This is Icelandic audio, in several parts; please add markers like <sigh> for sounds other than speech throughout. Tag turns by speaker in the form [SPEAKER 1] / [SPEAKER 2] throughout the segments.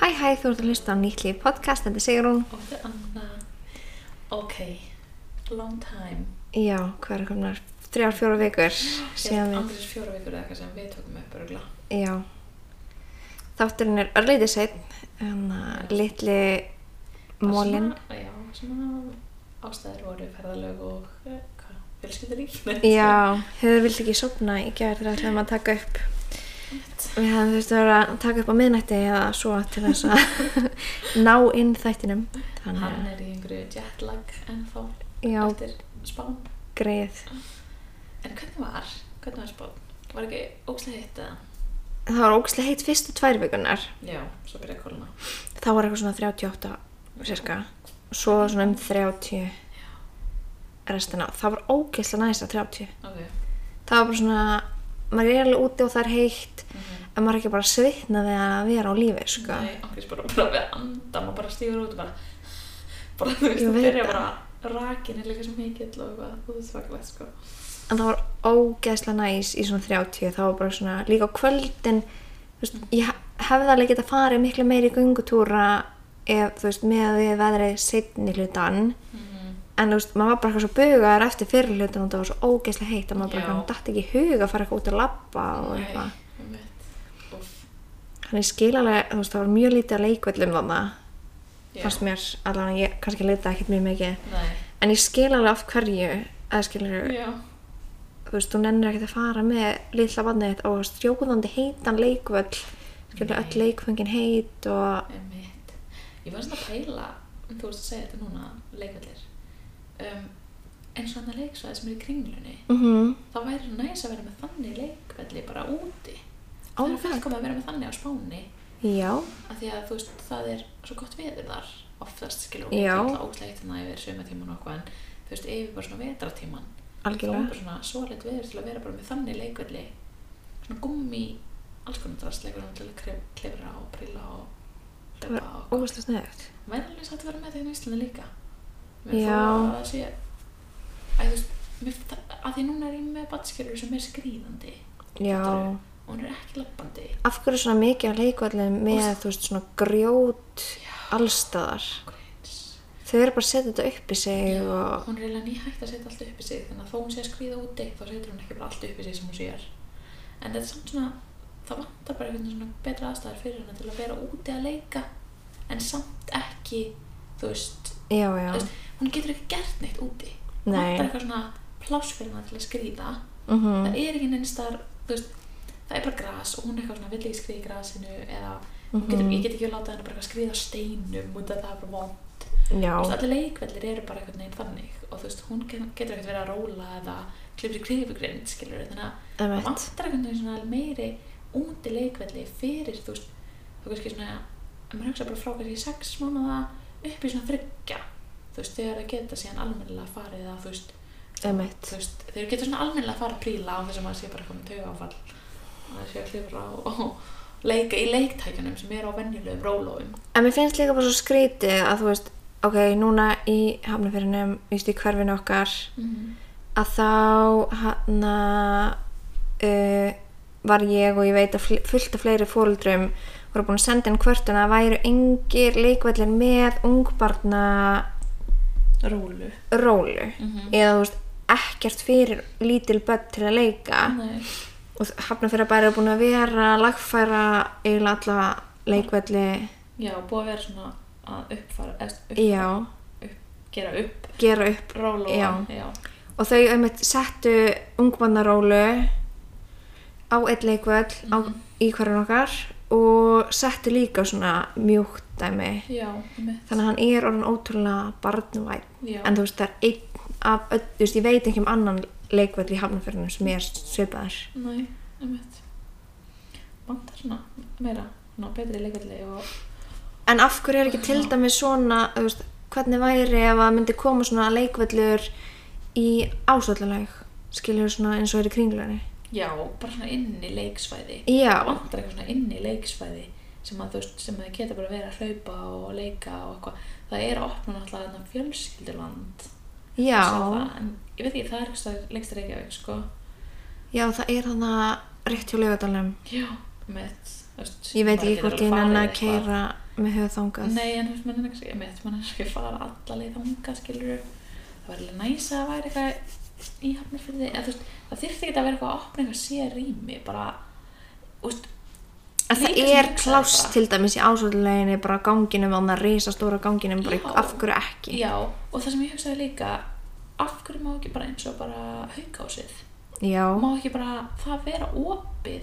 [SPEAKER 1] Hæ hæ, þú ert að hlusta á nýtt líf podcast, þetta segir hún.
[SPEAKER 2] Og þetta annað, ok, long time,
[SPEAKER 1] Já, hver er komnar? Þrjár, fjóra vikur síðan við.
[SPEAKER 2] andris fjóra vikur eða eitthvað sem við tókum upp örgla.
[SPEAKER 1] Já. Þátturinn er örlítið seitt, en að litli mólinn.
[SPEAKER 2] Já, svona ástæður voru ferðalög og eh, hvað, fjölskyldulíf.
[SPEAKER 1] <laughs> Já, hefur vilt ekki sopna í gerð þegar ætlum að taka upp. Við hefum þurft að vera að taka upp á miðnætti eða svo til þess að <laughs> ná inn þættinum. Þannig
[SPEAKER 2] Hann
[SPEAKER 1] að
[SPEAKER 2] er í einhverju jetlag ennþá
[SPEAKER 1] Já.
[SPEAKER 2] eftir spán.
[SPEAKER 1] greið.
[SPEAKER 2] En hvernig var, hvernig var spán? Var ekki ógstlega hitt eða?
[SPEAKER 1] Það var ógæslega heitt fyrstu tvær vikunar.
[SPEAKER 2] Já, svo byrjaði kóluna.
[SPEAKER 1] Þá var eitthvað svona 38 cirka. Svo svona um 30 restina. Það var ógæslega næst að 30.
[SPEAKER 2] Ok,
[SPEAKER 1] Það var bara svona, maður er alveg úti og það er heitt.
[SPEAKER 2] Mhm.
[SPEAKER 1] En maður er ekki bara svitnað við að vera á lífi, sko.
[SPEAKER 2] nei, ángriðs bara bara við anda, maður bara stígur út og bara, bara þú veist,
[SPEAKER 1] Ég
[SPEAKER 2] það
[SPEAKER 1] veit
[SPEAKER 2] byrja
[SPEAKER 1] það.
[SPEAKER 2] bara rakin er líka sem heikill og eitthvað, þú veist svakalegt sko.
[SPEAKER 1] en það var ógeðslega næs í svona 30 það var bara svona líka á kvöldin þú veist, ég he- hefði alveg geta farið miklu meiri í göngutúra ef þú veist, með að við veðrið setni hlutan
[SPEAKER 2] Mhm.
[SPEAKER 1] en þú veist, maður var bara eitthvað svo bugaður eftir fyrir hlutan og það var svo ógeðslega heitt að maður bara
[SPEAKER 2] Já.
[SPEAKER 1] hann dætt ekki í hug að fara eitthvað út að labba og eitthvað
[SPEAKER 2] Nei, einmitt. Úff,
[SPEAKER 1] hann er skilalega, þú veist, það var mjög lítið að leikvöllum þarna
[SPEAKER 2] já.
[SPEAKER 1] fannst mér, allavega ég kannski leita ekkert mjög mikið
[SPEAKER 2] Nei,
[SPEAKER 1] en ég skilalega af hverju eða skilur,
[SPEAKER 2] já,
[SPEAKER 1] þú veist, þú nennir ekkert að fara með litla barnið þitt á strjóðandi heitan leikvöll skilja
[SPEAKER 2] Nei.
[SPEAKER 1] öll leikfengin heit og
[SPEAKER 2] einmitt. Ég var svona að pæla, þú veist að segja þetta núna, leikvallir. Um, en svona leiksvæði sem er í kringlunni,
[SPEAKER 1] mm -hmm.
[SPEAKER 2] þá væri næs að vera með þannig leikvalli bara úti.
[SPEAKER 1] Ó, það.
[SPEAKER 2] það er fullkom að vera með þannig á Spáni,
[SPEAKER 1] já,
[SPEAKER 2] af því að þú veist, það er svo gott veður þar, oftast skilur
[SPEAKER 1] Já.
[SPEAKER 2] alltaf óslægt þannig yfir sömatíman og eitthvað, en þú veist, yfir bara svona vetratíman. Það var bara
[SPEAKER 1] algjörlega
[SPEAKER 2] svona svolít veður til að vera bara með þannig leikvelli svona gummi alls konar drastleikur um til að klif- klifra og prilla og
[SPEAKER 1] það var
[SPEAKER 2] hlaupa og hvað.
[SPEAKER 1] ógæslega snöðut
[SPEAKER 2] Mér er alveg satt að vera með þegar í Íslandi líka
[SPEAKER 1] Já.
[SPEAKER 2] Mér að það sé Æ, þú veist, mér, það, að því núna er ég með batskjörur sem er skrýðandi
[SPEAKER 1] já,
[SPEAKER 2] fattarðu? og hún er ekki lappandi
[SPEAKER 1] af hverju svona mikið af leikvöllum með,
[SPEAKER 2] Og-
[SPEAKER 1] þú veist, svona grjót allstaðar þau eru bara að setja þetta upp í sig og
[SPEAKER 2] hún er eiginlega nýhægt að setja allt upp í sig þannig að þó hún sé að skrýða úti þá setur hún ekki bara allt upp í sig sem hún sér en þetta er samt svona það vantar bara einhvern veginn svona betra aðstæðar fyrir hennar til að vera úti að leika en samt ekki þú veist,
[SPEAKER 1] já,
[SPEAKER 2] þú
[SPEAKER 1] já,
[SPEAKER 2] veist hún getur ekki gert neitt úti
[SPEAKER 1] Nei.
[SPEAKER 2] hún vantar eitthvað svona pláss fyrir hennar til að skrýða
[SPEAKER 1] mm
[SPEAKER 2] það er ekki neins þar þú veist, það er bara gras og hún er eitthvað svona vill ekki skrýða í grasinu eða mm getur,
[SPEAKER 1] Mhm.
[SPEAKER 2] ég get ekki að láta hennar bara eitthvað skrýða á steinum út af það er bara vond
[SPEAKER 1] já
[SPEAKER 2] Þú veist, allir leikvellir eru bara einhvern veginn þannig og þú veist, hún ge- getur ekkert verið að róla eða klipur í klifugrind, skilur þannig að það
[SPEAKER 1] Einmitt.
[SPEAKER 2] vantar einhvern veginn svona meiri úti leikvelli fyrir þú veist, þú kannski svona að maður hugsa bara frá kannski í sex mánuða upp í svona þryggja þú veist, þegar það geta síðan almennilega farið að þú veist,
[SPEAKER 1] emitt,
[SPEAKER 2] þú veist þegar geta svona almennilega farið að príla á þess að maður sé bara komið taugafall að það sé að klifra og, og leika í leiktækjunum sem eru á venjulegum rólóum
[SPEAKER 1] En mér finnst líka bara svo skrítið að þú veist, ok, núna í hafnafyrinum, víst í hverfinu okkar, að þá hann uh, var ég og ég veit að fl- fullt af fleiri fóruldrum voru búin að senda inn kvörtun að það væru engir leikvellir með ungbarna
[SPEAKER 2] Rólu
[SPEAKER 1] rólu
[SPEAKER 2] Mhm.
[SPEAKER 1] eða þú veist, ekkert fyrir lítil börn til að leika
[SPEAKER 2] Nei.
[SPEAKER 1] og hafnafyrir bara er búin að vera að lagfæra eiginlega alla leikvelli,
[SPEAKER 2] Já, búið að vera svona að uppfara, eða upp,
[SPEAKER 1] já,
[SPEAKER 2] gera upp
[SPEAKER 1] gera upp
[SPEAKER 2] róla
[SPEAKER 1] Já.
[SPEAKER 2] já.
[SPEAKER 1] og þau einmitt settu ungmannarólu á einn leikvöll á,
[SPEAKER 2] Mhm.
[SPEAKER 1] í hverjum okkar og settu líka svona mjúkt dæmi
[SPEAKER 2] Já, mitt.
[SPEAKER 1] þannig að hann er orðin ótrúlega barnvæn
[SPEAKER 2] Já.
[SPEAKER 1] en þú veist það er einn af öll, þú veist ég veit ekki um annan leikvöll í hafnafjörnum sem er svipaðar
[SPEAKER 2] Nei, mitt. Vantar svona meira, svona betri leikalli og...
[SPEAKER 1] en af hverju er ekki til dæmi svona þú veist, hvernig væri ef að myndi koma svona leikvöllur í ásvöldalæg skilur svona eins og er í kringlunni
[SPEAKER 2] Já, bara svona inn í leiksvæði.
[SPEAKER 1] Já.
[SPEAKER 2] Vantar eitthvað svona inn í leiksvæði sem að þú veist, sem að geta bara verið að hlaupa og leika og eitthvað. Það er að opna náttúrulega þarna fjölskylduland.
[SPEAKER 1] já
[SPEAKER 2] Ég sá Það, en ég veit ekki, það er eitthvað lengst að Reykjavík, sko.
[SPEAKER 1] Já, það er hann að rétt hjá laugadalum.
[SPEAKER 2] Já, mitt. Þú veist,
[SPEAKER 1] Ég veit
[SPEAKER 2] maður
[SPEAKER 1] ekki
[SPEAKER 2] getur
[SPEAKER 1] hvort
[SPEAKER 2] alveg
[SPEAKER 1] ég nenni
[SPEAKER 2] farið
[SPEAKER 1] að
[SPEAKER 2] eitthvað.
[SPEAKER 1] keira með höfð þangað
[SPEAKER 2] Nei, en þú veist, mann er ekki, mitt, mann er ekki að fara alla leið þangað, skilur Það var alveg næs að það væri eitthvað í hafnafyrði, eða þú veist, það þyrfti ekki að vera eitthvað að opna eitthvað sér rými, bara, þú veist,
[SPEAKER 1] að það
[SPEAKER 2] líka sem
[SPEAKER 1] er
[SPEAKER 2] hugsaði
[SPEAKER 1] klást
[SPEAKER 2] bara.
[SPEAKER 1] til dæmis í ásvölduleginni bara á ganginum, þannig að risa stóra ganginum bara
[SPEAKER 2] Já.
[SPEAKER 1] af hverju ekki
[SPEAKER 2] Já, og það sem ég hugsaði líka, af hverju má ekki bara eins og bara haugásið?
[SPEAKER 1] já,
[SPEAKER 2] Má ekki bara það vera opið,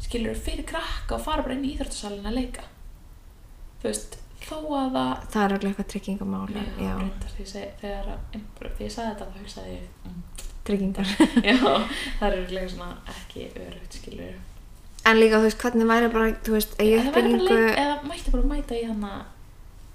[SPEAKER 2] skilur fyrir krakka og fara bara inn í íþróttasalina að leika? Þú veist, þó að það
[SPEAKER 1] það er alveg eitthvað tryggingamál
[SPEAKER 2] Já,
[SPEAKER 1] já,
[SPEAKER 2] reyndar því ég seg, þegar að- em, bara því ég sagði þetta þá hugsaði ég mm,
[SPEAKER 1] tryggingar
[SPEAKER 2] <laughs>
[SPEAKER 1] <laughs>
[SPEAKER 2] já, <laughs> það er örugglega svona ekki örugt skilur
[SPEAKER 1] en líka þú veist hvernig væri bara þú veist, í
[SPEAKER 2] eða, væri bara
[SPEAKER 1] uppbyggingu
[SPEAKER 2] leik, eða mætti bara mæta í hana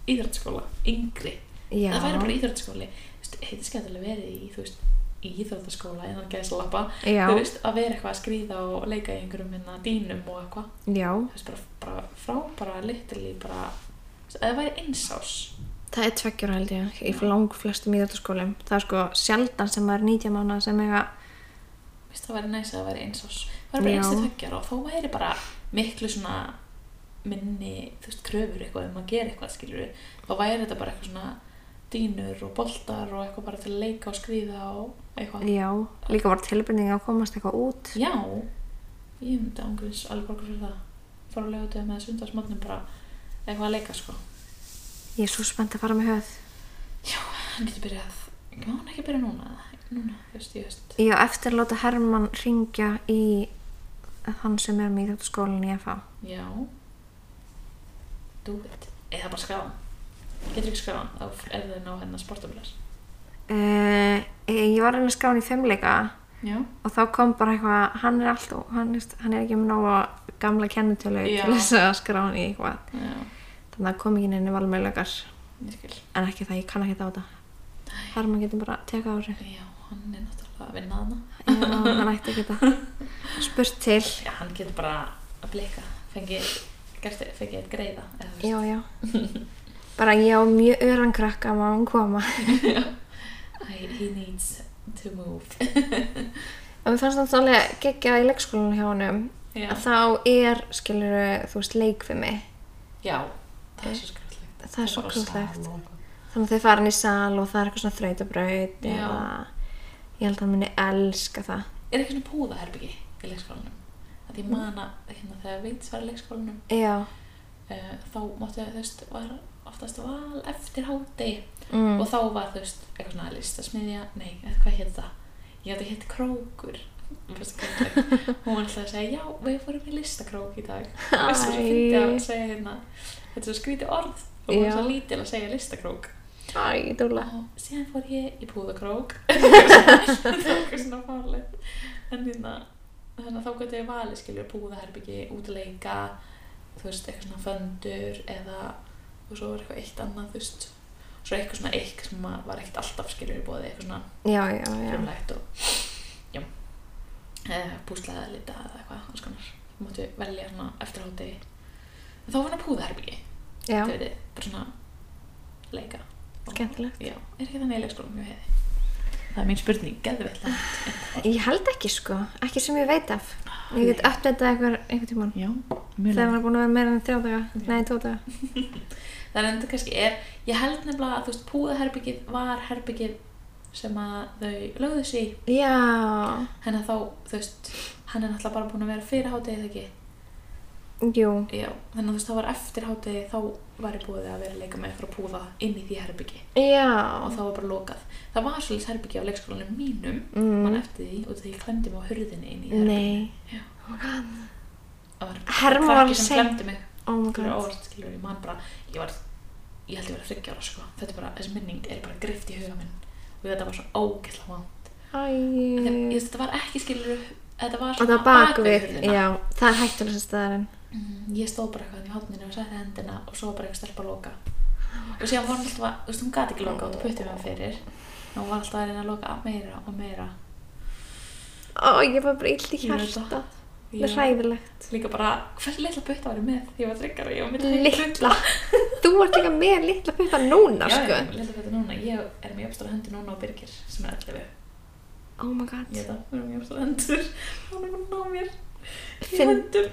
[SPEAKER 2] íþróttaskóla, yngri
[SPEAKER 1] já,
[SPEAKER 2] það væri bara íþróttaskóli Þú veist, heiti skemmtilega verið í þú veist, í íþróttaskóla eða gæðslappa
[SPEAKER 1] Já.
[SPEAKER 2] þú veist, að vera eitthvað að skrýða og leika í einhverjum minna dýnum og eitthvað
[SPEAKER 1] já,
[SPEAKER 2] þú veist, bara, bara frábara litli bara, þú veist, eða væri einsás
[SPEAKER 1] það er tveggjur held ég í lang flestum íðartaskólum það er sko sjaldan sem maður er 90 mánuða sem eiga
[SPEAKER 2] Þú veist, það væri næs að það væri eins og það
[SPEAKER 1] Já.
[SPEAKER 2] væri bara eins til tveggjara og þá væri bara miklu svona minni, þú veist, kröfur eitthvað um að gera eitthvað, skilur við þá væri þetta bara eitthvað svona dýnur og boltar og eitthvað bara til að leika og skrýða og eitthvað
[SPEAKER 1] já, líka bara tilbyrning að komast eitthvað út
[SPEAKER 2] Já, ég myndi ángurins alveg borgur fyrir það fara á legutum með sundarsmannum bara eitthvað að leika, sko
[SPEAKER 1] ég er svo spennt að fara með höfð
[SPEAKER 2] Já, hann getur byrjað Má hann ekki byrja núna? eða? Núna, þú veist, ég veist
[SPEAKER 1] ég á eftir að láta Hermann ringja í hann sem er með íðartaskólinni í FH
[SPEAKER 2] Já Do it Eða bara skráðan Getur ekki skráðan þá er þau ná hérna hennar sportabílar
[SPEAKER 1] uh, ég var að reyna að skrá hann í fimmleika
[SPEAKER 2] Já
[SPEAKER 1] og þá kom bara eitthvað hann er alltaf, hann, veist, hann er ekki með nóga gamla kennitölu
[SPEAKER 2] Já.
[SPEAKER 1] til þess að skrá hann í eitthvað
[SPEAKER 2] Já,
[SPEAKER 1] þannig að það kom ekki neina valmöðlökar
[SPEAKER 2] ég skil
[SPEAKER 1] en ekki það, ég kann ekki þetta á þetta Hermann getur bara tekað á þessu
[SPEAKER 2] Já, hann er náttúrulega að vinna hana
[SPEAKER 1] Já, hann ætti ekki þetta spurt til
[SPEAKER 2] Já, hann getur bara að blika Fengi, gert, fengi eitt greiða eða, þú veist.
[SPEAKER 1] já, já bara ég á mjög öran krakka má hann koma
[SPEAKER 2] I, He needs to move
[SPEAKER 1] og mér fannst það alveg geggjað í leikskólanum hjá honum
[SPEAKER 2] Já.
[SPEAKER 1] að þá er, skilur þú veist, leikfimi
[SPEAKER 2] Já, það er svo skrúllegt
[SPEAKER 1] Það er svo krúttlegt.
[SPEAKER 2] Já,
[SPEAKER 1] þannig að þau fara hann í sal og það er eitthvað svona þrautabraut
[SPEAKER 2] Já.
[SPEAKER 1] eða ég held að hann muni elska það
[SPEAKER 2] Er ekki svona púðaherbyggi í leikskólanum? Að ég man að hérna, þegar Vigdís var í leikskólanum
[SPEAKER 1] já,
[SPEAKER 2] uh, þá máttu þú veist var oftast val eftir hádegi
[SPEAKER 1] Mm.
[SPEAKER 2] og þá var þú veist eitthvað svona listasmiðja, nei, eða hvað hétt það ég átti að hétt Krókur
[SPEAKER 1] Mm.
[SPEAKER 2] Mér
[SPEAKER 1] <laughs>
[SPEAKER 2] fannst það skemmtilegt. hún var alltaf að segja já, við fórum í listakrók í dag Veistu, svo
[SPEAKER 1] Æ.
[SPEAKER 2] fyndi að segja hérna þetta er svo skrítið orð og hún
[SPEAKER 1] Já.
[SPEAKER 2] var svo lítil að segja listakrók
[SPEAKER 1] æ, dúla
[SPEAKER 2] og síðan fór ég í
[SPEAKER 1] <laughs>
[SPEAKER 2] púðakrók <laughs> það var eitthvað svona farlegt en hérna þannig að þá gæti ég valið skiljur púðaherbyggi útileika, þú veist, eitthvað svona föndur eða og svo var eitthvað eitt annað, þú veist svo eitthvað svona eik sem að var ekkert alltaf skiljur í bóði, eitthvað svona
[SPEAKER 1] já, já, já,
[SPEAKER 2] frumlegt og já eða púslaði að lita eða eitthvað alls konar, máttu velja svona eftir hátegi en þá var hann að púðaherbyggi
[SPEAKER 1] já.
[SPEAKER 2] þau veitir, bara svona leika Og-
[SPEAKER 1] Skemmtilegt.
[SPEAKER 2] já, er ekki þannig í leikskólanum hjá heiði það er mín spurning, geðu vel
[SPEAKER 1] Ah. ég held ekki sko, ekki sem ég veit af ég get
[SPEAKER 2] Nei.
[SPEAKER 1] uppdatað einhver, einhver tíman
[SPEAKER 2] já,
[SPEAKER 1] þegar hann
[SPEAKER 2] mjög
[SPEAKER 1] er búin að vera meira enn þrjá daga nei, tvo daga,
[SPEAKER 2] það er enda kannski er, ég held nefnilega að þú veist púðaherbyggið var herbyggið sem að þau lögðu sig í
[SPEAKER 1] já
[SPEAKER 2] henni þá, þú veist, hann er náttúrulega bara búin að vera fyrir hátegi þegar ekki
[SPEAKER 1] jú,
[SPEAKER 2] já, þannig að þú veist, þá var eftir hátegi þá var ég búið að vera að leika með eitthvað púða inn í því herbyggi
[SPEAKER 1] já
[SPEAKER 2] og þá var bara lokað það var svolítið herbyggi á leikskólanum mínum
[SPEAKER 1] Mm.
[SPEAKER 2] mann eftir því, út af því ég klemdi mig á hurðinni inn í herbygginu
[SPEAKER 1] nei,
[SPEAKER 2] Já.
[SPEAKER 1] oh my god
[SPEAKER 2] Það var
[SPEAKER 1] Hermann var
[SPEAKER 2] krakki sem
[SPEAKER 1] sein-
[SPEAKER 2] glemdi mig
[SPEAKER 1] oh my
[SPEAKER 2] það var
[SPEAKER 1] god,
[SPEAKER 2] óvart, skilur, ég man bara ég var, ég held ég var að þryggja ára sko þetta er bara, þessi minning er bara grift í huga minn og þetta var svo ógeðslega vant mm.
[SPEAKER 1] æ
[SPEAKER 2] þetta var ekki, skilur þetta var
[SPEAKER 1] og það
[SPEAKER 2] svona
[SPEAKER 1] bak við,
[SPEAKER 2] hurðina.
[SPEAKER 1] já, það er hættulega staðarinn
[SPEAKER 2] Mm, ég stóð bara eitthvað í hotninu og sætti hendina og svo var bara eitthvað stelpa að loka og síðan var hún alltaf, að- þú veist, hún gati ekki loka og það putti mig fyrir og hún var alltaf að reyna að loka meira og meira
[SPEAKER 1] ó, ég var bara illt í
[SPEAKER 2] Ég veit
[SPEAKER 1] hjarta
[SPEAKER 2] það.
[SPEAKER 1] það er hræðilegt
[SPEAKER 2] líka bara, hversu litla putta var ég með ég var þryggjara, ég var með tveir
[SPEAKER 1] litla, þú ert líka með litla putta núna,
[SPEAKER 2] Já,
[SPEAKER 1] sko
[SPEAKER 2] ég leta þetta núna, ég er með jafnstóra hendur núna á Birgir sem er 11
[SPEAKER 1] oh my god,
[SPEAKER 2] Ég það, við erum með jafnstóra hendur Hann er búin að ná mér í
[SPEAKER 1] Finn-
[SPEAKER 2] hendur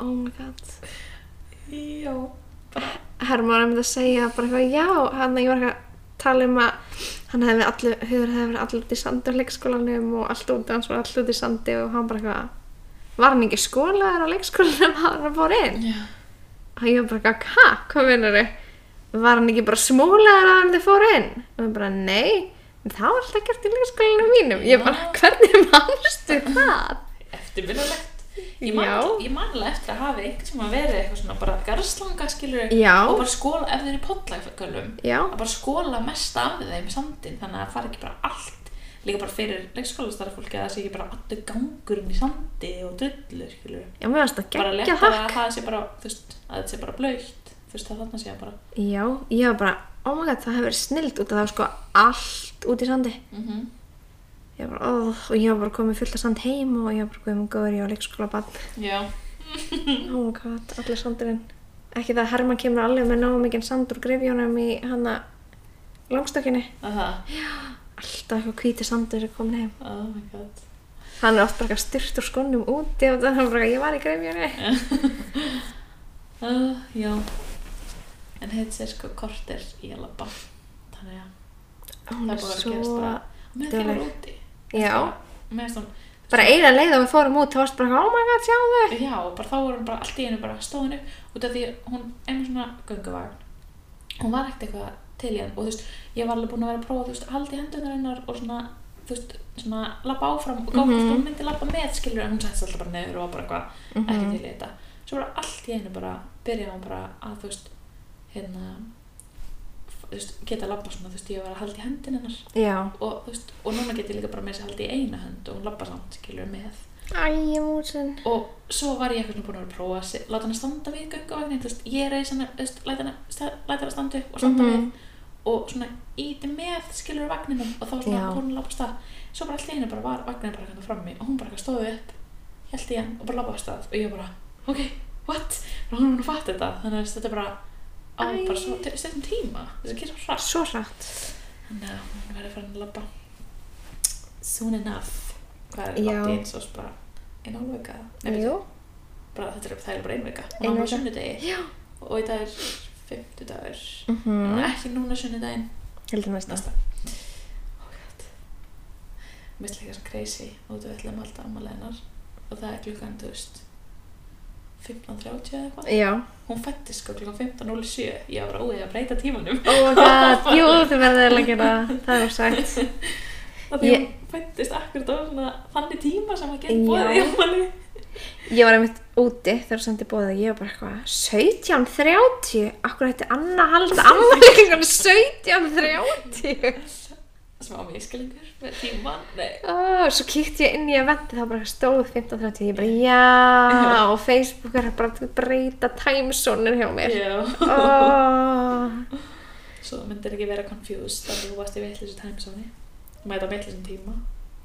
[SPEAKER 1] oh my god
[SPEAKER 2] Já, bara
[SPEAKER 1] Hermann að mynda að segja bara eitthvað já, hann að ég var eitthvað að tala um að hann hefði allir, hugur hefði verið allir út í sandi á leikskólanum og allt út hans var allt út í sandi og hann bara eitthvað var hann ekki skólaður á leikskólanum <laughs> að hann fór inn
[SPEAKER 2] Já.
[SPEAKER 1] og ég var bara eitthvað, hæ, hvað vinur var hann ekki bara smólaður að hann þið fór inn og hann bara, nei en það var alltaf gert í leikskólanum mínum ég bara, hvernig mannstu það?
[SPEAKER 2] Eftirvinnulegt. Ég man,
[SPEAKER 1] Já.
[SPEAKER 2] ég man alveg eftir að hafi einhvern sem að verið eitthvað svona bara garðslanga skilur
[SPEAKER 1] Já.
[SPEAKER 2] og bara skóla ef þeir eru podlagfölum
[SPEAKER 1] Já.
[SPEAKER 2] að bara skóla mest af þeim sandin þannig að það fara ekki bara allt líka bara fyrir leikskólastarfólki að það sé ekki bara allur gangurinn í sandi og drullu skilur
[SPEAKER 1] já, mér varst það
[SPEAKER 2] bara
[SPEAKER 1] geggjað
[SPEAKER 2] léttara
[SPEAKER 1] hakk
[SPEAKER 2] að það sé bara þú veist, að þetta sé bara blöytt þú veist það þarna sé bara
[SPEAKER 1] Já, ég var bara, oh my god, það hefur verið snilt út af það var sko allt út í sandi.
[SPEAKER 2] mm -hmm.
[SPEAKER 1] Ég var bara, oh, og ég var bara komið fullt af sand heim og ég var bara komið góður, ég var leikskóla bann.
[SPEAKER 2] já Mm.
[SPEAKER 1] Oh my god, allir sandurinn. Ekki það að Herman kemur alveg með náðu mikið sand úr grefjónum í hana langstökinni.
[SPEAKER 2] að það
[SPEAKER 1] Alltaf eitthvað hvíti sandur er komin heim.
[SPEAKER 2] oh my god
[SPEAKER 1] Hann er oft bara eitthvað styrt úr skónum úti og það er bara, ég var í grefjónu.
[SPEAKER 2] uh, já en þetta er sko korter í að labba þannig að
[SPEAKER 1] Hún
[SPEAKER 2] Eh, það
[SPEAKER 1] er
[SPEAKER 2] er bara að gerast
[SPEAKER 1] svo...
[SPEAKER 2] bara með því að vera
[SPEAKER 1] dugleg.
[SPEAKER 2] úti
[SPEAKER 1] Já.
[SPEAKER 2] með svona
[SPEAKER 1] Bara eina leið og við fórum út, þá varst bara, oh my god, sjáðu.
[SPEAKER 2] já, og bara þá var hún bara allt í einu bara stóðin upp út af því hún er með svona gönguvagn hún var ekkert eitthvað til í hann og þú veist, ég var alveg búin að vera að prófa þú veist, haldi hendunar hennar og svona þú veist, svona labba áfram og gátt mm hún myndi labba með skilur en hún sætti alltaf bara neður og var bara eitthvað ekki til í þetta svo bara allt í einu bara byrjaði hann bara að þú veist hérna f- þú veist, geta labba svona, þú veist, ég var að haldi hendin hennar
[SPEAKER 1] Já.
[SPEAKER 2] og, þú veist, og núna get ég líka bara með þess að halda í eina hönd og hún labba samt, skilur með
[SPEAKER 1] Æ, músin.
[SPEAKER 2] og svo var ég eitthvað svona búin að vera að prófa að se- láta hann standa við gönguvagnin, þú veist, ég reis hann þú veist, læta hann að standa upp og standa
[SPEAKER 1] Mhm.
[SPEAKER 2] við og svona íti með skilur vagninum og þá svona
[SPEAKER 1] Já.
[SPEAKER 2] fór hún að labba af stað svo bara allir einu bara var vagnin bara kannar frammi og hún bara eitthvað stóðu upp held í hann og bara labba af stað og ég bara, ok, what? og hún er búin að fatta þetta þannig að þetta er bara á
[SPEAKER 1] Æ.
[SPEAKER 2] bara svo stundum tíma þess að gera svo hratt
[SPEAKER 1] Svo hratt.
[SPEAKER 2] þannig að hún verður farin að labba soon enough hvað er
[SPEAKER 1] Já.
[SPEAKER 2] labba eins og bara einu hálf vika Nei, veitu,
[SPEAKER 1] Jú,
[SPEAKER 2] bara, þetta er, það er bara einu vika hún
[SPEAKER 1] Ein
[SPEAKER 2] er bara
[SPEAKER 1] vika.
[SPEAKER 2] sunnudegi
[SPEAKER 1] Já.
[SPEAKER 2] og í dag er fimmtudagur
[SPEAKER 1] Mhm.
[SPEAKER 2] en hún er ekki núna sunnudaginn
[SPEAKER 1] heldur næsta.
[SPEAKER 2] næsta oh god mér slik þessum crazy og þú ætlum alltaf ammali hennar og það er klukkan, þú veist 15.30 eða eitthvað
[SPEAKER 1] Já.
[SPEAKER 2] hún fættist sko klukkan 15.07 ég var bara úið að breyta tímanum
[SPEAKER 1] Oh my god, jú, þú verður eiginlega að gera það. Það er sætt.
[SPEAKER 2] og því
[SPEAKER 1] Ég-
[SPEAKER 2] hún fættist akkurat á svona þannig tíma sem að geta
[SPEAKER 1] Já.
[SPEAKER 2] bóðið í ammali
[SPEAKER 1] Ég var einmitt úti þegar sendi bóðið og ég var bara eitthvað 17.30? Akkur hætti Anna að halda <laughs> ammali klukkan 17.30?
[SPEAKER 2] smá miskilingur með tíman nei,
[SPEAKER 1] Oh, svo kíkti ég inn í að vendi þá bara stóð 15.30 ég bara já og Facebook er bara að breyta timezónir hjá mér.
[SPEAKER 2] já
[SPEAKER 1] Oh,
[SPEAKER 2] svo þú myndir ekki vera confused að þú varst í vitleysu timezone mæta á vitleysum tíma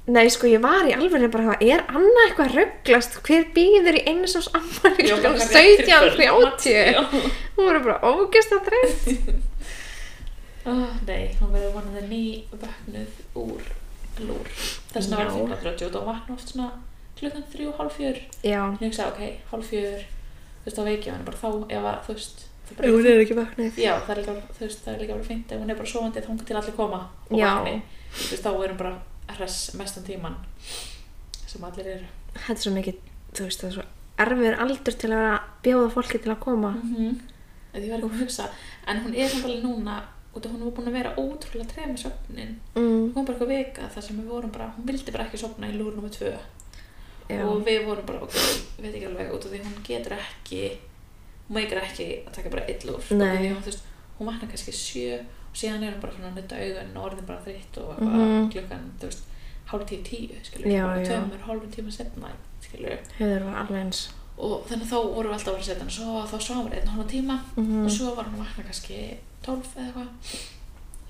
[SPEAKER 1] Nei, sko, ég var í alveg bara hvað, er annað eitthvað rugglast? Hver býður í eins og ammari
[SPEAKER 2] Já,
[SPEAKER 1] klukkan
[SPEAKER 2] bara rétt fyrir
[SPEAKER 1] 17.30?
[SPEAKER 2] kvöld. Já.
[SPEAKER 1] Hún voru bara ógæst að dreif.
[SPEAKER 2] Ah, nei, hún verður vonandi ný vöknuð úr lúr þess vegna
[SPEAKER 1] Já.
[SPEAKER 2] verður því að djóta og vakna oft svona klukkan þrjú, hálf fjör
[SPEAKER 1] Já,
[SPEAKER 2] en ég hugsa, ok, hálf fjör þú veist, þá veikja hann bara þá ef að, þú veist það bara-
[SPEAKER 1] hún er ekki vaknað.
[SPEAKER 2] já, það er líka, bara- þú veist, það er líka bara fint ef hún er bara sofandi þá hún til allir koma og
[SPEAKER 1] Já.
[SPEAKER 2] vakni þú veist, þá erum bara hress mestan tíman sem allir eru
[SPEAKER 1] Þetta er svo mikið, þú veist, það er svo erfiður aldur til að vera að bjóða fólki til að koma.
[SPEAKER 2] -hmm. Ég var eitthvað að hugsa En hún er samt alveg núna út af hún var búin að vera ótrúlega tref með svefnin
[SPEAKER 1] Mm.
[SPEAKER 2] Hún kom bara eitthvað vika þar sem við vorum bara Hún vildi bara ekki sofna í lúr nr. 2
[SPEAKER 1] Já,
[SPEAKER 2] Og við vorum bara, ok, veit ekki alveg Út af því hún getur ekki Hún meikar ekki að taka bara eitt lúr Út af
[SPEAKER 1] Nei.
[SPEAKER 2] því hún, þú veist, hún vaknar kannski sjö Og síðan er hún bara svona að nutta augun Og orðin bara þreytt og
[SPEAKER 1] Mhm.
[SPEAKER 2] eitthvað klukkan Þú veist, hálf tíu tíu, skilur
[SPEAKER 1] Já,
[SPEAKER 2] bara
[SPEAKER 1] já.
[SPEAKER 2] Tveimur hálfum tíma setna, skilur
[SPEAKER 1] höfður var alveg eins.
[SPEAKER 2] og þannig að þá vorum við alltaf að vera að setja hann svo þá svo hann var einn hóna tíma
[SPEAKER 1] Mhm.
[SPEAKER 2] og svo var hann að vakna kannski 12 eða eitthvað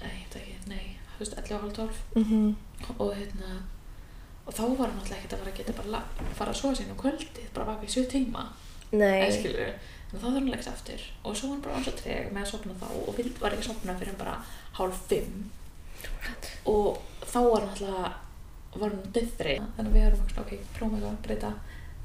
[SPEAKER 2] nei, ég veit ekki, nei, þú veist 11 og hálf 12
[SPEAKER 1] Mm -hmm.
[SPEAKER 2] og hérna og þá var hann alltaf ekkert að fara að geta bara la- fara að sofa sín á kvöldið, bara vaka í 7 tíma eða
[SPEAKER 1] Nei.
[SPEAKER 2] skilur en þá þarf hann að leggja aftur og svo var hann bara án svo treg með að sopna þá og vild, var ekki að sopna fyrir bara hálf 5 og þá var hann alltaf var hann döðri þannig að við erum ok, prófum eitthvað að breyta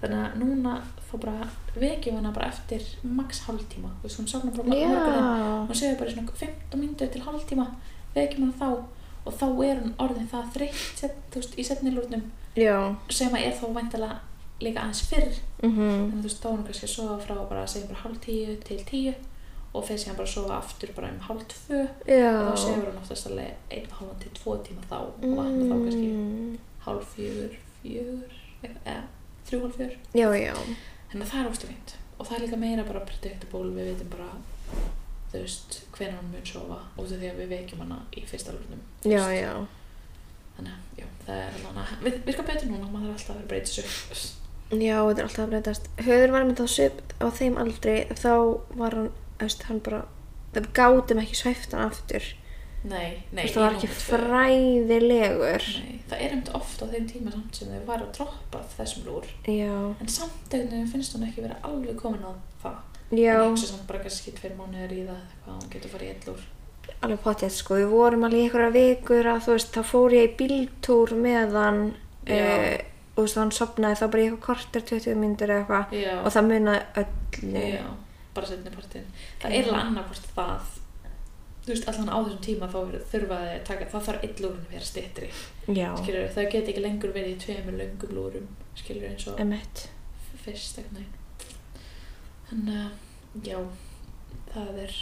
[SPEAKER 2] þannig að núna þá bara vekjum við hana bara eftir max hálftíma, þú veist, hún safnar bara
[SPEAKER 1] Já.
[SPEAKER 2] morguninn, hún segir bara í svona 15 mínútur til hálftíma, vekjum hana þá og þá er hún orðin það þreytt set, þú veist, í setnilúrnum
[SPEAKER 1] Já.
[SPEAKER 2] sem að er þá væntalega líka aðeins fyrr
[SPEAKER 1] mhm,
[SPEAKER 2] þannig að þú veist, þá er hún kannski að sofa frá bara, segjum bara hálf tíu til tíu og fer síðan bara að sofa aftur bara um hálf tvö og þá
[SPEAKER 1] Já.
[SPEAKER 2] sefur hún oftast alveg einn og hálfan til tvo tíma þá og vaknar þá kannski
[SPEAKER 1] Mm.
[SPEAKER 2] hálf fjögur, fjögur eitthvað, eða þrjú hálf fjögur
[SPEAKER 1] Já, já.
[SPEAKER 2] þannig að Hérna, það er óstu fínt og það er líka meira bara predictable við vitum bara þú veist, hvenær hún mun sofa út af því að við vekjum hana í fyrsta lúrnum
[SPEAKER 1] Já, já.
[SPEAKER 2] þannig að, já, það er alveg hana við, virka betur núna, maður er alltaf að vera breytið svo
[SPEAKER 1] Já, þetta er alltaf að breytast. Höður var með þá svip á þeim aldrei, þá var hann, veist, hann bara, það gátum ekki svæft hann aftur.
[SPEAKER 2] <laughs> nei,
[SPEAKER 1] Þú
[SPEAKER 2] nei,
[SPEAKER 1] veist,
[SPEAKER 2] í
[SPEAKER 1] það var ekki
[SPEAKER 2] númer tvö.
[SPEAKER 1] fræðilegur.
[SPEAKER 2] Nei, það er einmitt oft á þeim tíma samt sem þau var að droppa þessum lúr
[SPEAKER 1] Já,
[SPEAKER 2] en samt einhvern veginn finnst hún ekki vera alveg komin á það
[SPEAKER 1] já,
[SPEAKER 2] en ekki samt bara kannski tveir mánuðar í það eitthvað hún getur farið í eitt lúr
[SPEAKER 1] alveg potið, sko. Við vorum alveg í einhverja vikur að, þú veist, þá fór ég í bíltúr með hann
[SPEAKER 2] Já.
[SPEAKER 1] eh, og þú veist, hann sopnaði þá bara í eitthvað korter, 20 myndir eða eitthvað
[SPEAKER 2] Já.
[SPEAKER 1] og það munaði öllu.
[SPEAKER 2] Já, bara setni partin það
[SPEAKER 1] Já.
[SPEAKER 2] er alveg annað hvort það þú veist, allan á þessum tíma þá verður- þurfa þau að taka, þá þarf eitt lúrun að vera stittri
[SPEAKER 1] Já,
[SPEAKER 2] skilur, þau geta ekki lengur verið í tveimur löngum lúrum, skilur eins og
[SPEAKER 1] emitt.
[SPEAKER 2] fyrst einhvern veginn þannig að já það er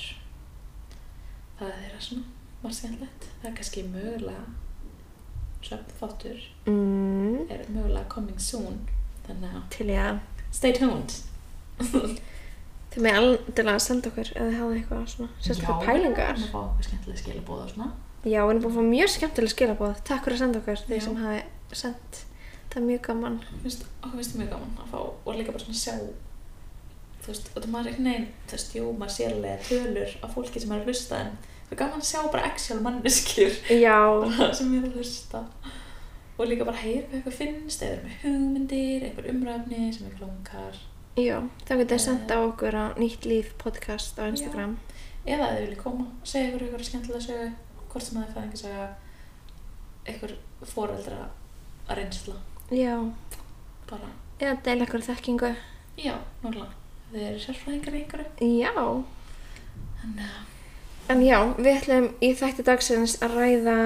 [SPEAKER 2] það er þeirra svona margt skemmtilegt það er kannski mögulega söpþáttur
[SPEAKER 1] Mm,
[SPEAKER 2] er mögulega coming soon þannig að
[SPEAKER 1] til ég að,
[SPEAKER 2] stay tuned
[SPEAKER 1] þau með alveg senda okkur eða hafa eitthvað svona, sérstaklega
[SPEAKER 2] Já,
[SPEAKER 1] pælingar.
[SPEAKER 2] við erum að fá okkur skemmtilega skilabóð og svona
[SPEAKER 1] Já, við erum búin að fá mjög skemmtileg skilabóð. Takk fyrir að senda okkur, þeir
[SPEAKER 2] Já.
[SPEAKER 1] sem hafi sendt. Það er mjög gaman.
[SPEAKER 2] Finnst- okkur finnst það mjög gaman að fá og líka bara svona sjá þú veist, og það maður ekki neginn þú veist, jú, maður sér alveg tölur af fólki sem er að hlusta en það er gaman að sjá bara actual manneskjur <laughs>
[SPEAKER 1] Já,
[SPEAKER 2] sem er að hlusta og líka bara heyra hvað eitthvað finnst eða með hugmyndir, einhver umræfni sem eitthvað langar
[SPEAKER 1] já, þá getur þið senda á okkur á Nýtt Líf podcast á Instagram.
[SPEAKER 2] eða að þið viljið koma og segja ykkur eitthvað skemmtilega sögu hvort sem það er fæðing að segja einhver foreldra að reynsla
[SPEAKER 1] Já,
[SPEAKER 2] bara,
[SPEAKER 1] eða deila ykkur þekkingu.
[SPEAKER 2] já, núlega þið eru sérfræðingar í einhverju
[SPEAKER 1] Já,
[SPEAKER 2] þannig að,
[SPEAKER 1] en já, við ætlum í þætti dagsins að ræða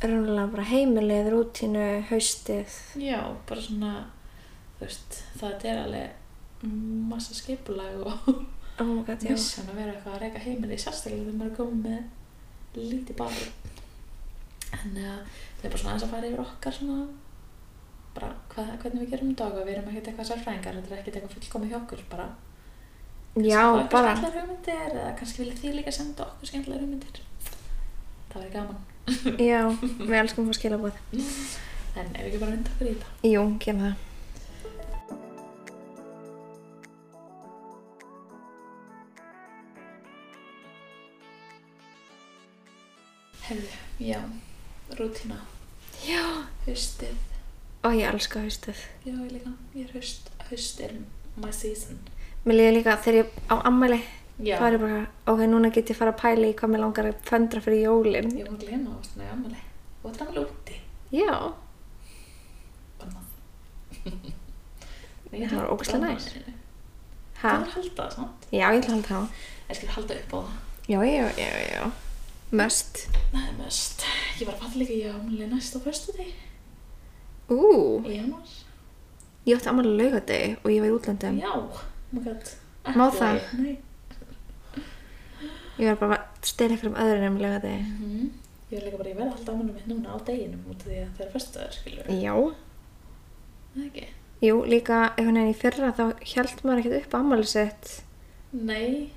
[SPEAKER 1] raunlega bara heimilið, rútínu, haustið.
[SPEAKER 2] já, bara svona þú veist, það er alveg massa skipulag og
[SPEAKER 1] Oh my god, <laughs> já.
[SPEAKER 2] missan að vera eitthvað að reyka heimili sérstaklega þegar maður er komið með lítið barn þannig að það er bara svona aðeins að fara yfir okkar svona bara hvað, hvernig við gerum dag og við erum ekkert eitthvað sérfræðingar þetta er ekkert eitthvað fullkomið hjá okkur bara
[SPEAKER 1] Já, bara,
[SPEAKER 2] skemmtilega hugmyndir eða kannski viljið þið líka senda okkur skemmtilega hugmyndir það verið gaman
[SPEAKER 1] já, við elskum að fá skilabóð.
[SPEAKER 2] en ef við ekki bara vinda okkur í þetta
[SPEAKER 1] Jú, gerum það.
[SPEAKER 2] herðu, já, rútína
[SPEAKER 1] Já.
[SPEAKER 2] haustið,
[SPEAKER 1] Og ég elska haustið.
[SPEAKER 2] já ég líka ég er haust, haust er my season
[SPEAKER 1] Mér líður líka þegar ég á ammæli
[SPEAKER 2] já,
[SPEAKER 1] þá er ég bara, ok, núna get ég fara að pæla í hvað mér langar að föndra fyrir jólin
[SPEAKER 2] Ég var að glema á svona í ammali. Og það er ammali úti.
[SPEAKER 1] Já,
[SPEAKER 2] Bannað.
[SPEAKER 1] Það var ógeðslega næs.
[SPEAKER 2] Það
[SPEAKER 1] ha?
[SPEAKER 2] er að halda það, svona.
[SPEAKER 1] Já, ég ætla að halda það
[SPEAKER 2] Ég skal halda upp á það.
[SPEAKER 1] Já, já, já, já Mest
[SPEAKER 2] Það er mest. Ég var að panna líka í ammali næst á fyrstu deg.
[SPEAKER 1] Ú,
[SPEAKER 2] Í januar.
[SPEAKER 1] ég átti ammæli laugadegi og ég var í útlöndum
[SPEAKER 2] Já. Oh my god.
[SPEAKER 1] Má
[SPEAKER 2] Ekki
[SPEAKER 1] það?
[SPEAKER 2] lagi. Nei.
[SPEAKER 1] Ég var bara að stela ykkur um öðrun um laugadegi
[SPEAKER 2] Mhm. Ég var líka bara, ég verði að halda ammali mitt núna á deginum út af því að það er fyrstu dagur, skilur.
[SPEAKER 1] Já Mm.
[SPEAKER 2] Það ekki?
[SPEAKER 1] Jú, líka einhvern veginn í fyrra þá held maður ekkert upp ammæli sitt
[SPEAKER 2] Nei.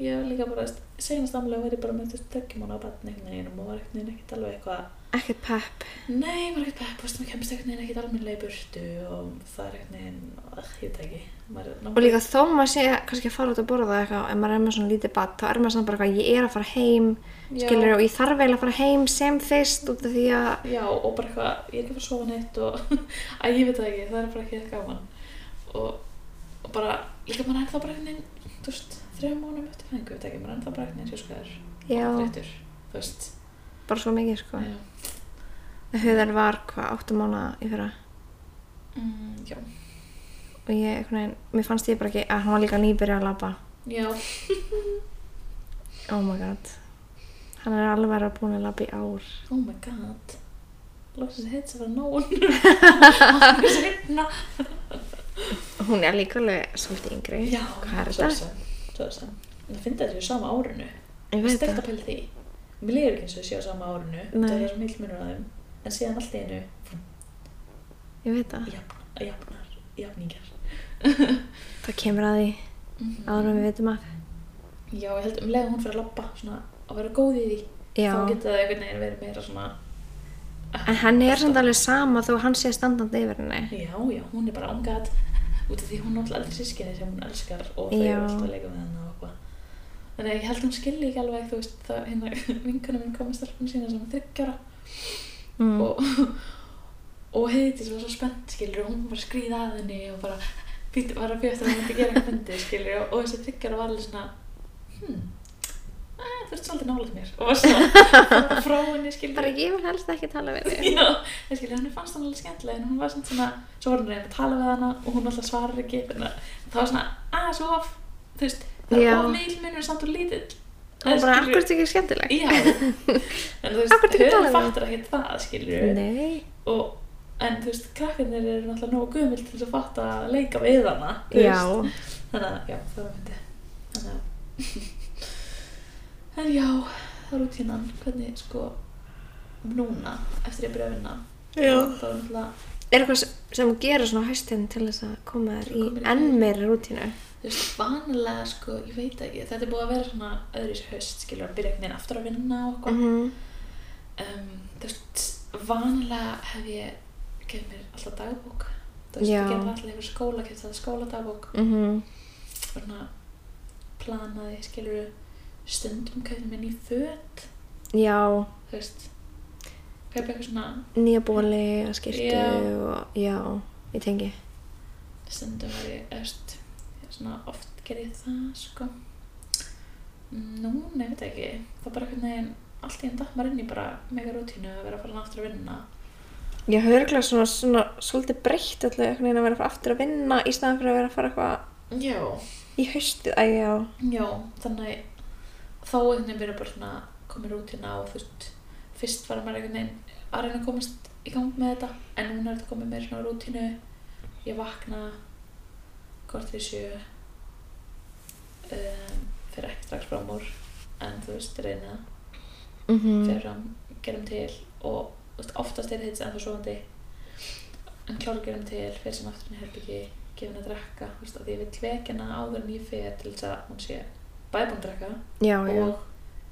[SPEAKER 2] Ég var líka bara, senast ammali var ég bara með þessu tökjum á batni einhvern veginn og var einhvern veginn ekkert alveg eitthvað
[SPEAKER 1] Ekkert pepp
[SPEAKER 2] Nei, maður er ekkert pepp, þú veist, maður kemst einhvern veginn ekkert almennilega í burtu og það er einhvern veginn, ugh, ég veit það ekki, maður er
[SPEAKER 1] Og líka þó maður sé kannski að fara út að borða eitthvað en maður er með svona lítið bad þá er maður svona bara eitthvað, ég er að fara heim
[SPEAKER 2] Já.
[SPEAKER 1] skilur og ég þarf eiginlega að fara heim sem fyrst út af því að
[SPEAKER 2] Já, og bara eitthvað, ég er ekki að fara að sofa neitt og, <laughs> æ, ég veit það ekki, það er bara ekki eitthvað gaman. Og, og bara, líka maður er ennþá bara einhvern veginn, þú veist, þrejum mánum eftir fæðingu, ég veit það ekki, maður er ennþá bara einhvern veginn sjóskaður,
[SPEAKER 1] Já,
[SPEAKER 2] þreyttur, þú veist.
[SPEAKER 1] bara svo mikið sko.
[SPEAKER 2] Já.
[SPEAKER 1] Huðar var hvað, 8 mánuða í fyrra
[SPEAKER 2] Mm, já,
[SPEAKER 1] og ég, einhvern veginn, mér fannst ég bara ekki að hann var líka nýbyrja að labba
[SPEAKER 2] Já,
[SPEAKER 1] oh my god hann er alveg að búin að labba í ár
[SPEAKER 2] oh my god Lóksins heits að vera
[SPEAKER 1] <laughs>
[SPEAKER 2] nón Alveg seinna
[SPEAKER 1] hún er líka alveg svolítið yngri
[SPEAKER 2] Já,
[SPEAKER 1] hvað er
[SPEAKER 2] svo
[SPEAKER 1] þetta?
[SPEAKER 2] sem, Svo er sem Það finnst þetta séu sama árinu
[SPEAKER 1] ég veit
[SPEAKER 2] Stegt að
[SPEAKER 1] það
[SPEAKER 2] pæla í því Mér leiður ekki eins og þau séu á sama árinu
[SPEAKER 1] Nei.
[SPEAKER 2] Það er svo mjög munur að þeim En síðan allt í einu
[SPEAKER 1] ég veit það
[SPEAKER 2] jafn- Jafnar, jafningar
[SPEAKER 1] það kemur að því áður en við veitum af
[SPEAKER 2] Já, ég held um leið að hún fyrir að labba svona, að vera góð í því
[SPEAKER 1] Já.
[SPEAKER 2] þá geta það einhvern veginn verið meira svona
[SPEAKER 1] en hann er samt alveg sama þó hann sé standandi yfir henni
[SPEAKER 2] Já, já, hún er bara ángat út af því hún er alltaf eldri sískinni sem hún elskar og þau
[SPEAKER 1] Já.
[SPEAKER 2] eru alltaf að leika með hennar og eitthvað Þannig að ég held að hún skilji ekki alveg þú veist það hérna <laughs> vinkunum minn kom með stelpunum sína sem er þryggjara
[SPEAKER 1] mm.
[SPEAKER 2] og, <laughs> og heiti sem var svo spennt skilur hún var að skríða að henni og bara býtt, var að bjóta að hún myndi gera eitthvað fyndi skilur og, og þessi þryggjara var alveg svona hmm, eh, þú ert svolítið nálega mér og var svona <laughs> frá henni skilur
[SPEAKER 1] bara ég vil helst ekki tala við þig
[SPEAKER 2] Já, ég skilja, henni fannst hann alveg skemmtileg en hún var samt svona, svo var hann reynd að tala við hana og hún alltaf svarar ekki þannig að það var svona aðeins of þú veist, það
[SPEAKER 1] Já.
[SPEAKER 2] er of meil munur samt og lítill
[SPEAKER 1] og bara
[SPEAKER 2] Skilurðu?
[SPEAKER 1] akkur er þetta ekki skemmtileg <laughs>
[SPEAKER 2] Já, en þú veist,
[SPEAKER 1] Af hverju ekki tala við
[SPEAKER 2] höfum
[SPEAKER 1] hana?
[SPEAKER 2] fattar ekkert það, skilju
[SPEAKER 1] nei
[SPEAKER 2] og, en þú veist, krakkarnir eru náttúrulega nógu gömul til þess að fatta að leika við hana þú
[SPEAKER 1] já
[SPEAKER 2] veist. þannig að, já, það var myndi þannig að <laughs> en já, það er út hinnan hvernig, sko núna, eftir ég byrja að vinna
[SPEAKER 1] Já.
[SPEAKER 2] þá er náttúrulega,
[SPEAKER 1] er eitthvað sem gerir svona hæstin til þess að koma þér í
[SPEAKER 2] Komin í-
[SPEAKER 1] enn meira rútínu
[SPEAKER 2] þú veist, vanilega sko, ég veit ekki, þetta er búið að vera svona öðru í haust, skilur, að byrja einhvern veginn aftur að vinna og eitthvað,
[SPEAKER 1] Mhm.
[SPEAKER 2] um, þú veist, vanilega hef ég gefið mér alltaf dagbók þú veist,
[SPEAKER 1] Já.
[SPEAKER 2] ég gefið alltaf yfir skóla, gefið þetta skóladagbók
[SPEAKER 1] Mhm.
[SPEAKER 2] svona planaði, skilur stundum kefið mér ný föt
[SPEAKER 1] já
[SPEAKER 2] þú veist kaupa eitthvað svona
[SPEAKER 1] nýja bóli að skiptu
[SPEAKER 2] Já.
[SPEAKER 1] og já, ég tengi
[SPEAKER 2] stundum var ég öst svona oft gerði ég það sko nú, nei, ég veit ekki það bara einhvern veginn, allt í enn datt maður inn í bara mega rútínu að vera að fara aftur að vinna
[SPEAKER 1] ég hafa örgulega svona, svona svolítið breytt alltaf einhvern veginn að vera aftur að vinna í staðan fyrir að vera að fara eitthvað
[SPEAKER 2] já,
[SPEAKER 1] í haustið, æ já
[SPEAKER 2] já, þannig þá einhvern veginn verið bara svona komið rútína og þú veist fyrst var maður einhvern veginn að reyna að komast í gang með þetta en núna er þetta komið með svona rútínu ég vakna hvort við sjö um, fyrir ekki strax fram úr en þú veist, reyna
[SPEAKER 1] mm
[SPEAKER 2] fyrir fram, gerum til og þú veist, oftast er þetta ennþá svoandi en klára gerum til fyrir sem aftur henni herbyggi gefa henni að drekka þú veist, af því ég vil vekja henni áður en ég fer til þess að hún sé bæði búin að drekka
[SPEAKER 1] já, já,
[SPEAKER 2] og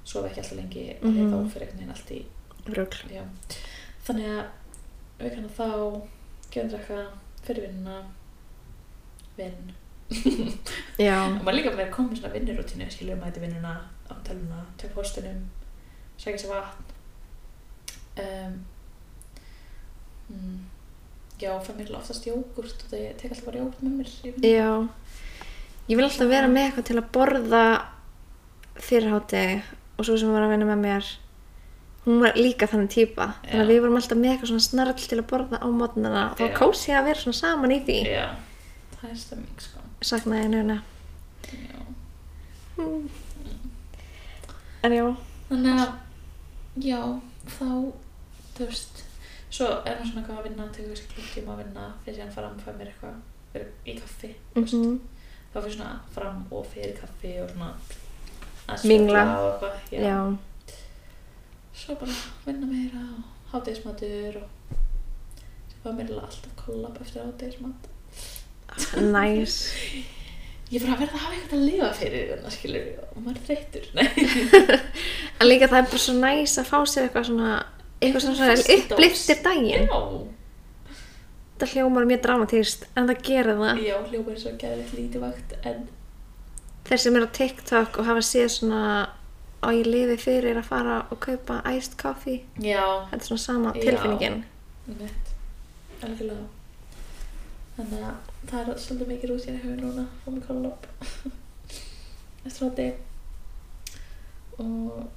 [SPEAKER 2] sofa ekki alltaf lengi mm
[SPEAKER 1] Mhm.
[SPEAKER 2] -hmm. þá fyrir einhvern veginn allt í
[SPEAKER 1] rugl
[SPEAKER 2] já. þannig að við kannar þá gefum drekka fyrir vinnuna vinn
[SPEAKER 1] já,
[SPEAKER 2] og maður líka verið komið svona vinnurútínu skilur maður þetta vinnuna á töluna tök hóstunum, sækja sér vatn um, mm, já, fæ mér oftast jógurt og það ég tek alltaf bara jógurt með mér í vinnuna.
[SPEAKER 1] já ég vil alltaf vera með eitthvað til að borða fyrir hátegi og svo sem var að vinna með mér hún var líka þannig típa þannig að
[SPEAKER 2] Já.
[SPEAKER 1] við vorum alltaf með eitthvað svona snarl til að borða á mótnana og
[SPEAKER 2] Já.
[SPEAKER 1] þá kósi að vera svona saman í því
[SPEAKER 2] já, það er stemming sko
[SPEAKER 1] saknaði henni hérna
[SPEAKER 2] já.
[SPEAKER 1] en já,
[SPEAKER 2] Þannig að, já, þá, þú veist, svo er maður svona eitthvað að vinna, tekur þessi klukk tíma að vinna, fyrir síðan fara og fæ mér eitthvað, verið í kaffi, þú veist,
[SPEAKER 1] Mhm.
[SPEAKER 2] þá fyrir svona fram og fyrir kaffi og svona að
[SPEAKER 1] Mingla.
[SPEAKER 2] spjalla og eitthvað, já.
[SPEAKER 1] já.
[SPEAKER 2] Svo bara vinna meira og hádegismatur og sem var meira alltaf kollab eftir hádegismat. <laughs>
[SPEAKER 1] Næs.
[SPEAKER 2] Ég fyrir að verða að hafa eitthvað að lifa fyrir þarna, skilur og maður er þreyttur, <laughs> nei.
[SPEAKER 1] En líka það er bara svo næs að fá sér eitthvað svona, eitthvað svona, svona
[SPEAKER 2] Festidós.
[SPEAKER 1] uppliftir daginn.
[SPEAKER 2] Já.
[SPEAKER 1] Þetta hljómar mjög dramatist, en það gerir það.
[SPEAKER 2] Já, hljópa er svo gæðið lítið vakt, en
[SPEAKER 1] Þeir sem eru á TikTok og hafa séð svona á ég lifi fyrir að fara og kaupa iced coffee.
[SPEAKER 2] já,
[SPEAKER 1] Þetta er svona sama
[SPEAKER 2] Já.
[SPEAKER 1] tilfinningin.
[SPEAKER 2] Mitt, algjörlega. Þannig að það er svolítið mikið rúst ég hefur núna á mig <laughs> kollab eftir hátti. Og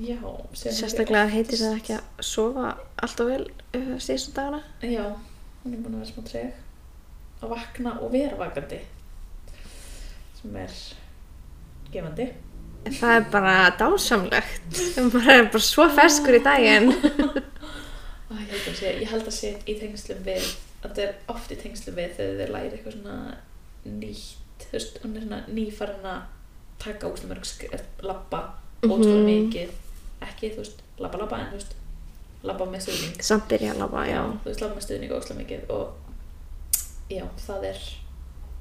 [SPEAKER 2] já, síðan hef ég
[SPEAKER 1] Sérstaklega heitir
[SPEAKER 2] oftast-
[SPEAKER 1] það ekki að sofa alltaf vel uh, síðustu dagana.
[SPEAKER 2] Já, hún er búin að vera smá treg. að vakna og vera vakandi sem er gefandi
[SPEAKER 1] Það er bara dásamlegt. <laughs> Það er bara, bara svo ferskur í daginn.
[SPEAKER 2] Æ, ég, held að sé, ég held að sé í tengslum við að þetta er oft í tengslum við þegar þeir læri eitthvað svona nýtt þú veist, hún er svona nýfarinn að taka óslega mörg skref, labba óslega
[SPEAKER 1] Mhm.
[SPEAKER 2] mikið ekki, þú veist, labba labba en þú veist labba með stuðning
[SPEAKER 1] Samt byrja að lafa, já.
[SPEAKER 2] þú veist, labba með stuðning óslega mikið og já, það er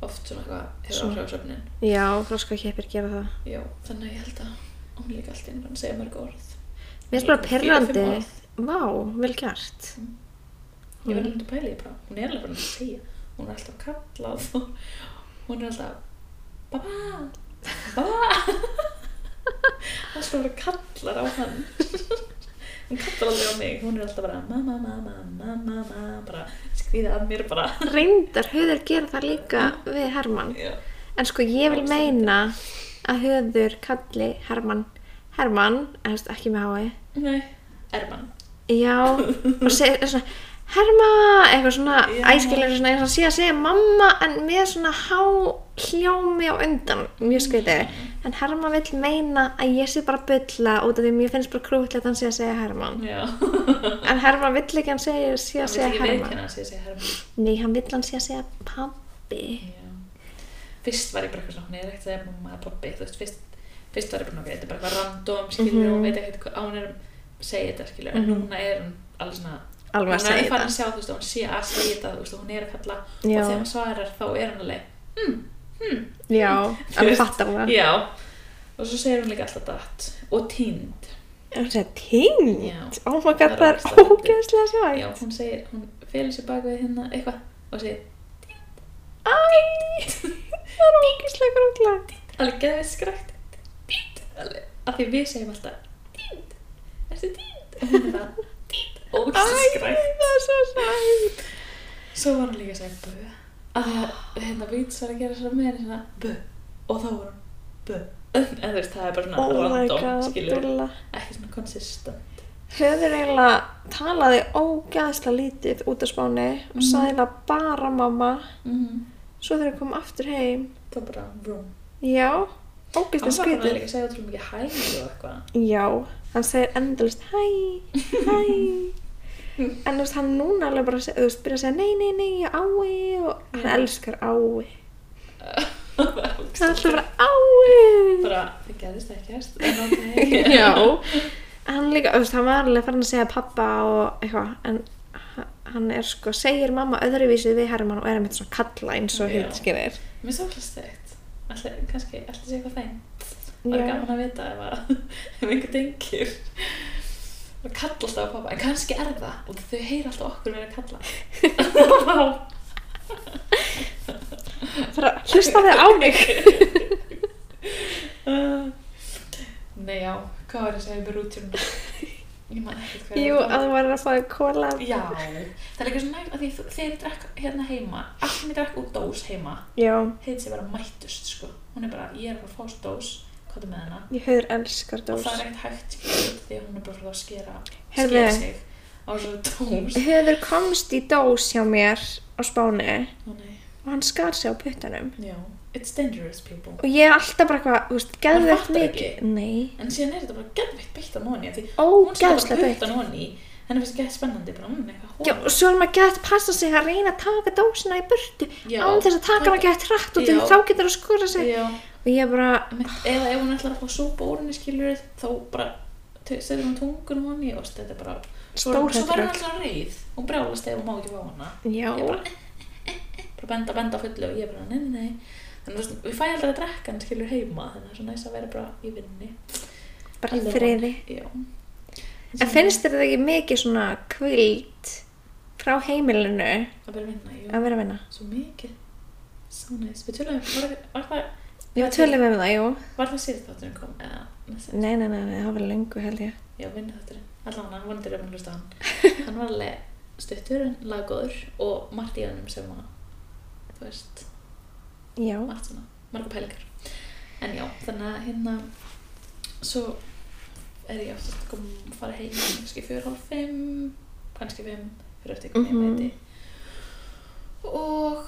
[SPEAKER 2] oft svona eitthvað hefur
[SPEAKER 1] Svona.
[SPEAKER 2] áhrif á söfnin
[SPEAKER 1] Já, froska keppir gera það.
[SPEAKER 2] já, þannig að ég held að hún er líka allt í einu farin að segja mörg orð
[SPEAKER 1] Mér finnst bara
[SPEAKER 2] Fjögur, fimm
[SPEAKER 1] pirrandi.
[SPEAKER 2] orð.
[SPEAKER 1] Vá, vel gert.
[SPEAKER 2] Ég
[SPEAKER 1] Mm.
[SPEAKER 2] verði að pæla í því bara, hún er alveg bara að segja, hún er alltaf kallað og hún er alltaf Baba, baba <laughs> Alltaf bara kallar á hann Hún kallar aldrei á mig, hún er alltaf bara mamma, mamma, mamma, mamma bara skrýða að mér bara
[SPEAKER 1] Reyndar höður gera það líka við Hermann.
[SPEAKER 2] Já,
[SPEAKER 1] En sko ég vil meina að höður kalli Hermann Hermann, en þú veist ekki með hái.
[SPEAKER 2] nei, Erman
[SPEAKER 1] Já, og segir svona Herma, eitthvað svona
[SPEAKER 2] Já.
[SPEAKER 1] æskilega svona eins og sé að segja mamma en með svona há hljómi á undan, mjög skvitið en Herma vill meina að ég sé bara bulla út af því að mér finnst bara krútlegt að hann sé að segja Herman
[SPEAKER 2] Já,
[SPEAKER 1] en Herma vill ekki að hann segja, sé að
[SPEAKER 2] hann vil
[SPEAKER 1] segja
[SPEAKER 2] ekki
[SPEAKER 1] Herman
[SPEAKER 2] veikina að segja Herman
[SPEAKER 1] Nei, hann vill að hann sé að segja pabbi
[SPEAKER 2] Já. Fyrst var ég bara eitthvað svona, hún er ekkert að segja mamma eða pabbi, þú veist, fyrst, fyrst var ég bara, ok, þetta er bara eitthvað random, skilur,
[SPEAKER 1] Mhm.
[SPEAKER 2] mm hún veit ekkert hvað, á hún er að segja þetta, skilur, en núna er hún alveg svona,
[SPEAKER 1] Alveg Mhm. að
[SPEAKER 2] hún er
[SPEAKER 1] segja
[SPEAKER 2] alveg farin
[SPEAKER 1] þetta.
[SPEAKER 2] að sjá, þú veist, að hún sé að segja þetta, þú veist, og hún er að kalla,
[SPEAKER 1] Já.
[SPEAKER 2] og þegar hún svarar, þá er hún alveg,
[SPEAKER 1] Já,
[SPEAKER 2] Þú
[SPEAKER 1] <laughs> hann
[SPEAKER 2] veist,
[SPEAKER 1] fattar það
[SPEAKER 2] já, og svo segir hún líka alltaf dætt, og tínd,
[SPEAKER 1] Hann segja ting
[SPEAKER 2] Já.
[SPEAKER 1] Oh my
[SPEAKER 2] Það
[SPEAKER 1] god,
[SPEAKER 2] er
[SPEAKER 1] það er
[SPEAKER 2] ógeðslega fyndið.
[SPEAKER 1] ógeðslega
[SPEAKER 2] já,
[SPEAKER 1] svægt
[SPEAKER 2] hún segir, hún félur sér bak við hérna, eitthvað, og segir,
[SPEAKER 1] Æ, það er ógeðslega grútlegt
[SPEAKER 2] alveg geðveikt skrækt dýnd, alveg, af því við segjum alltaf dýnd, ertu dýnd og hún er það, dýnd, ógst skrækt
[SPEAKER 1] það er svo sætt.
[SPEAKER 2] svo var hún líka að segja bö að því að hérna vits var að gera svona með henni svona bö, hérna, og þá var hún bö en þú veist, það er bara
[SPEAKER 1] Oh my
[SPEAKER 2] svona random,
[SPEAKER 1] god,
[SPEAKER 2] skilur
[SPEAKER 1] Dulla.
[SPEAKER 2] ekki svona consistent
[SPEAKER 1] Höfður eiginlega talaði ógæðslega lítið út af spáni og sagði eiginlega bara mamma.
[SPEAKER 2] Mhm.
[SPEAKER 1] Svo þegar ég kom aftur heim,
[SPEAKER 2] það var bara vroom
[SPEAKER 1] já,
[SPEAKER 2] hann
[SPEAKER 1] ógæðslega
[SPEAKER 2] var hann líka
[SPEAKER 1] skvitið.
[SPEAKER 2] að segja ótrúlega mikið hæ og eitthvað
[SPEAKER 1] Já, hann segir endalist hæ, hæ.
[SPEAKER 2] <laughs>
[SPEAKER 1] En þú veist, hann núna alveg bara, seg- þú veist, byrja að segja nei, nei, nei, ég ái og hann elskar ái.
[SPEAKER 2] það var
[SPEAKER 1] Það er
[SPEAKER 2] ógeðslega-
[SPEAKER 1] alltaf bara ái.
[SPEAKER 2] <laughs> bara, það gerðist <laughs> ekkert en ok
[SPEAKER 1] Já. Hann líka, þú veist, hann var alveg farin að segja pappa og eitthvað, en h- hann er sko, segir mamma öðruvísi við Herman og er einmitt svona kalla eins og
[SPEAKER 2] Já.
[SPEAKER 1] hitt, skilur.
[SPEAKER 2] Mér er svo hlustegt. Alltaf, kannski, alltaf sé eitthvað þeim. Það er
[SPEAKER 1] Já.
[SPEAKER 2] gaman að vita ef, að, <laughs> ef einhver tengir. Og kalla alltaf á pappa. En kannski er það. Og þau heyra alltaf okkur verið að
[SPEAKER 1] <laughs>
[SPEAKER 2] kalla.
[SPEAKER 1] Bara hlusta þig á mig.
[SPEAKER 2] <laughs> Nei, já. Hvað var ég að segja með rútjörnum? Ég man ekkert hvað
[SPEAKER 1] Jú,
[SPEAKER 2] ég var
[SPEAKER 1] að
[SPEAKER 2] að um.
[SPEAKER 1] þú væri að fá þig kóla.
[SPEAKER 2] Já. Það er líka svo nægt að því þú- þegar ég drekk hérna heima, allt sem ég drekk úr dós heima,
[SPEAKER 1] Já,
[SPEAKER 2] heiði sér bara mættust, sko. Hún er bara, ég er að fara að fá sér dós, hvað er með hana?
[SPEAKER 1] ég höfður elskar
[SPEAKER 2] og
[SPEAKER 1] dós.
[SPEAKER 2] það er ekkert hægt skilur, því að hún er bara fyrir að skera
[SPEAKER 1] Heyrðu.
[SPEAKER 2] skera sig á svona dós
[SPEAKER 1] Höfður komst í dós hjá mér á Spáni
[SPEAKER 2] Ó, nei.
[SPEAKER 1] og hann skar sig á puttanum.
[SPEAKER 2] já, it's dangerous people
[SPEAKER 1] Og ég er alltaf bara eitthvað, þú veist, geðveikt
[SPEAKER 2] Hann
[SPEAKER 1] mikið.
[SPEAKER 2] fattar ekki.
[SPEAKER 1] Nei.
[SPEAKER 2] en síðan er þetta bara geðveikt beitt að nóni því hún skilur bara
[SPEAKER 1] Ógeðslega beitt.
[SPEAKER 2] beitt að nóni henni finnst gett spennandi bara hún eitthvað
[SPEAKER 1] Já, og svo er maður gett passa sig að reyna að taka dósina í burtu
[SPEAKER 2] Já.
[SPEAKER 1] án þess að taka hana gett hratt út
[SPEAKER 2] Já.
[SPEAKER 1] en þá getur það skora sig
[SPEAKER 2] já,
[SPEAKER 1] og ég bara,
[SPEAKER 2] mitt, eða ef hún ætlar að fá súpa úr henni skilur þá bara setur hún tungun á henni og þetta er bara svo, svo
[SPEAKER 1] Stórhættulegt.
[SPEAKER 2] verður hún alltaf reyð hún brjálast ef hún má ekki fá hana
[SPEAKER 1] já
[SPEAKER 2] ég bara, "Eh, bara benda, benda á fullu og ég bara, nei, nei, nei þannig að þú veist, við fæ aldrei að drekka en skilur heima þannig að það er svo næst að vera bara í vinni
[SPEAKER 1] bara í
[SPEAKER 2] Alveg.
[SPEAKER 1] friði
[SPEAKER 2] já
[SPEAKER 1] en finnst þér þetta ekki mikið svona kvild frá heimilinu
[SPEAKER 2] að vera vinna, jú,
[SPEAKER 1] að vera að vinna?
[SPEAKER 2] svo mikið svo næst, við tölum, var, var það
[SPEAKER 1] Já, tölum við um það, jú
[SPEAKER 2] var það síðan þátturinn kom, eða næst
[SPEAKER 1] Nei, nei, nei, nei það var lengu held ég
[SPEAKER 2] já, vinna þátturinn, allan hann vondir ef hann hlusta á hann hann var alveg stuttur en laggóður og margt í hannum sem að þú veist,
[SPEAKER 1] Já,
[SPEAKER 2] margt svona, marga pælingar en já, þannig að hérna svo er ég oftast að koma að fara heim kannski fjör hálf fimm kannski fimm, fyrir eftir hvernig
[SPEAKER 1] Mhm.
[SPEAKER 2] ég meiti og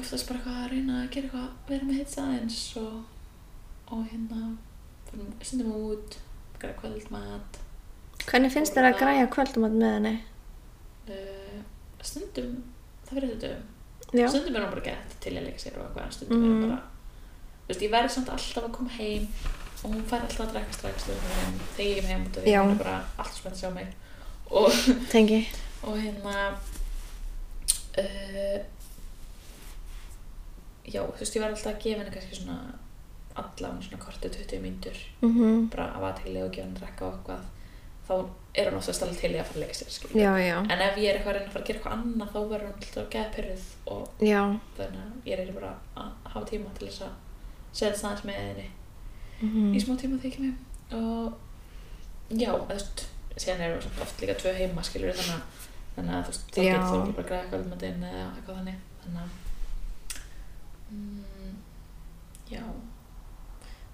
[SPEAKER 2] oftast bara eitthvað að reyna að gera eitthvað, vera með hitt aðeins og, og hérna, förum- stundum út, gera kvöldmat,
[SPEAKER 1] Hvernig finnst þér að græja kvöldmátt með henni?
[SPEAKER 2] uh, stundum, það verður þetta um,
[SPEAKER 1] Já.
[SPEAKER 2] stundum er hún bara gett til að leika sér og eitthvað, en stundum er
[SPEAKER 1] Mhm.
[SPEAKER 2] hún bara, þú veist, ég verði samt alltaf að koma heim og hún fær alltaf að drekka strax þegar ég kem heim, þegar ég kem heim út af því,
[SPEAKER 1] Já.
[SPEAKER 2] hún er bara alltaf spennt að sjá mig og
[SPEAKER 1] Tengi.
[SPEAKER 2] og hérna uh, já, þú veist, ég var alltaf að gefa henni kannski svona allan svona kortið 20 mínútur
[SPEAKER 1] Mm
[SPEAKER 2] bara að vara til í og gefa henni að drekka og eitthvað þá er hún oftast alveg til í að fara að leika sér skilur.
[SPEAKER 1] Já, já.
[SPEAKER 2] en ef ég er eitthvað að reyna að fara að gera eitthvað annað þá verður hún alltaf að geða pyrruð og
[SPEAKER 1] Já.
[SPEAKER 2] þannig að ég reyna bara að hafa tíma til þess að setja þess aðeins með henni
[SPEAKER 1] Mm
[SPEAKER 2] í smá tíma þegar ég kem heim og já, þú veist síðan erum við samt oft líka tvö heima skilur þannig að þannig að þú veist, þá
[SPEAKER 1] Já.
[SPEAKER 2] getur þú ekki bara að græða eitthvað um að dinn eða eitthvað þannig þannig að mm, já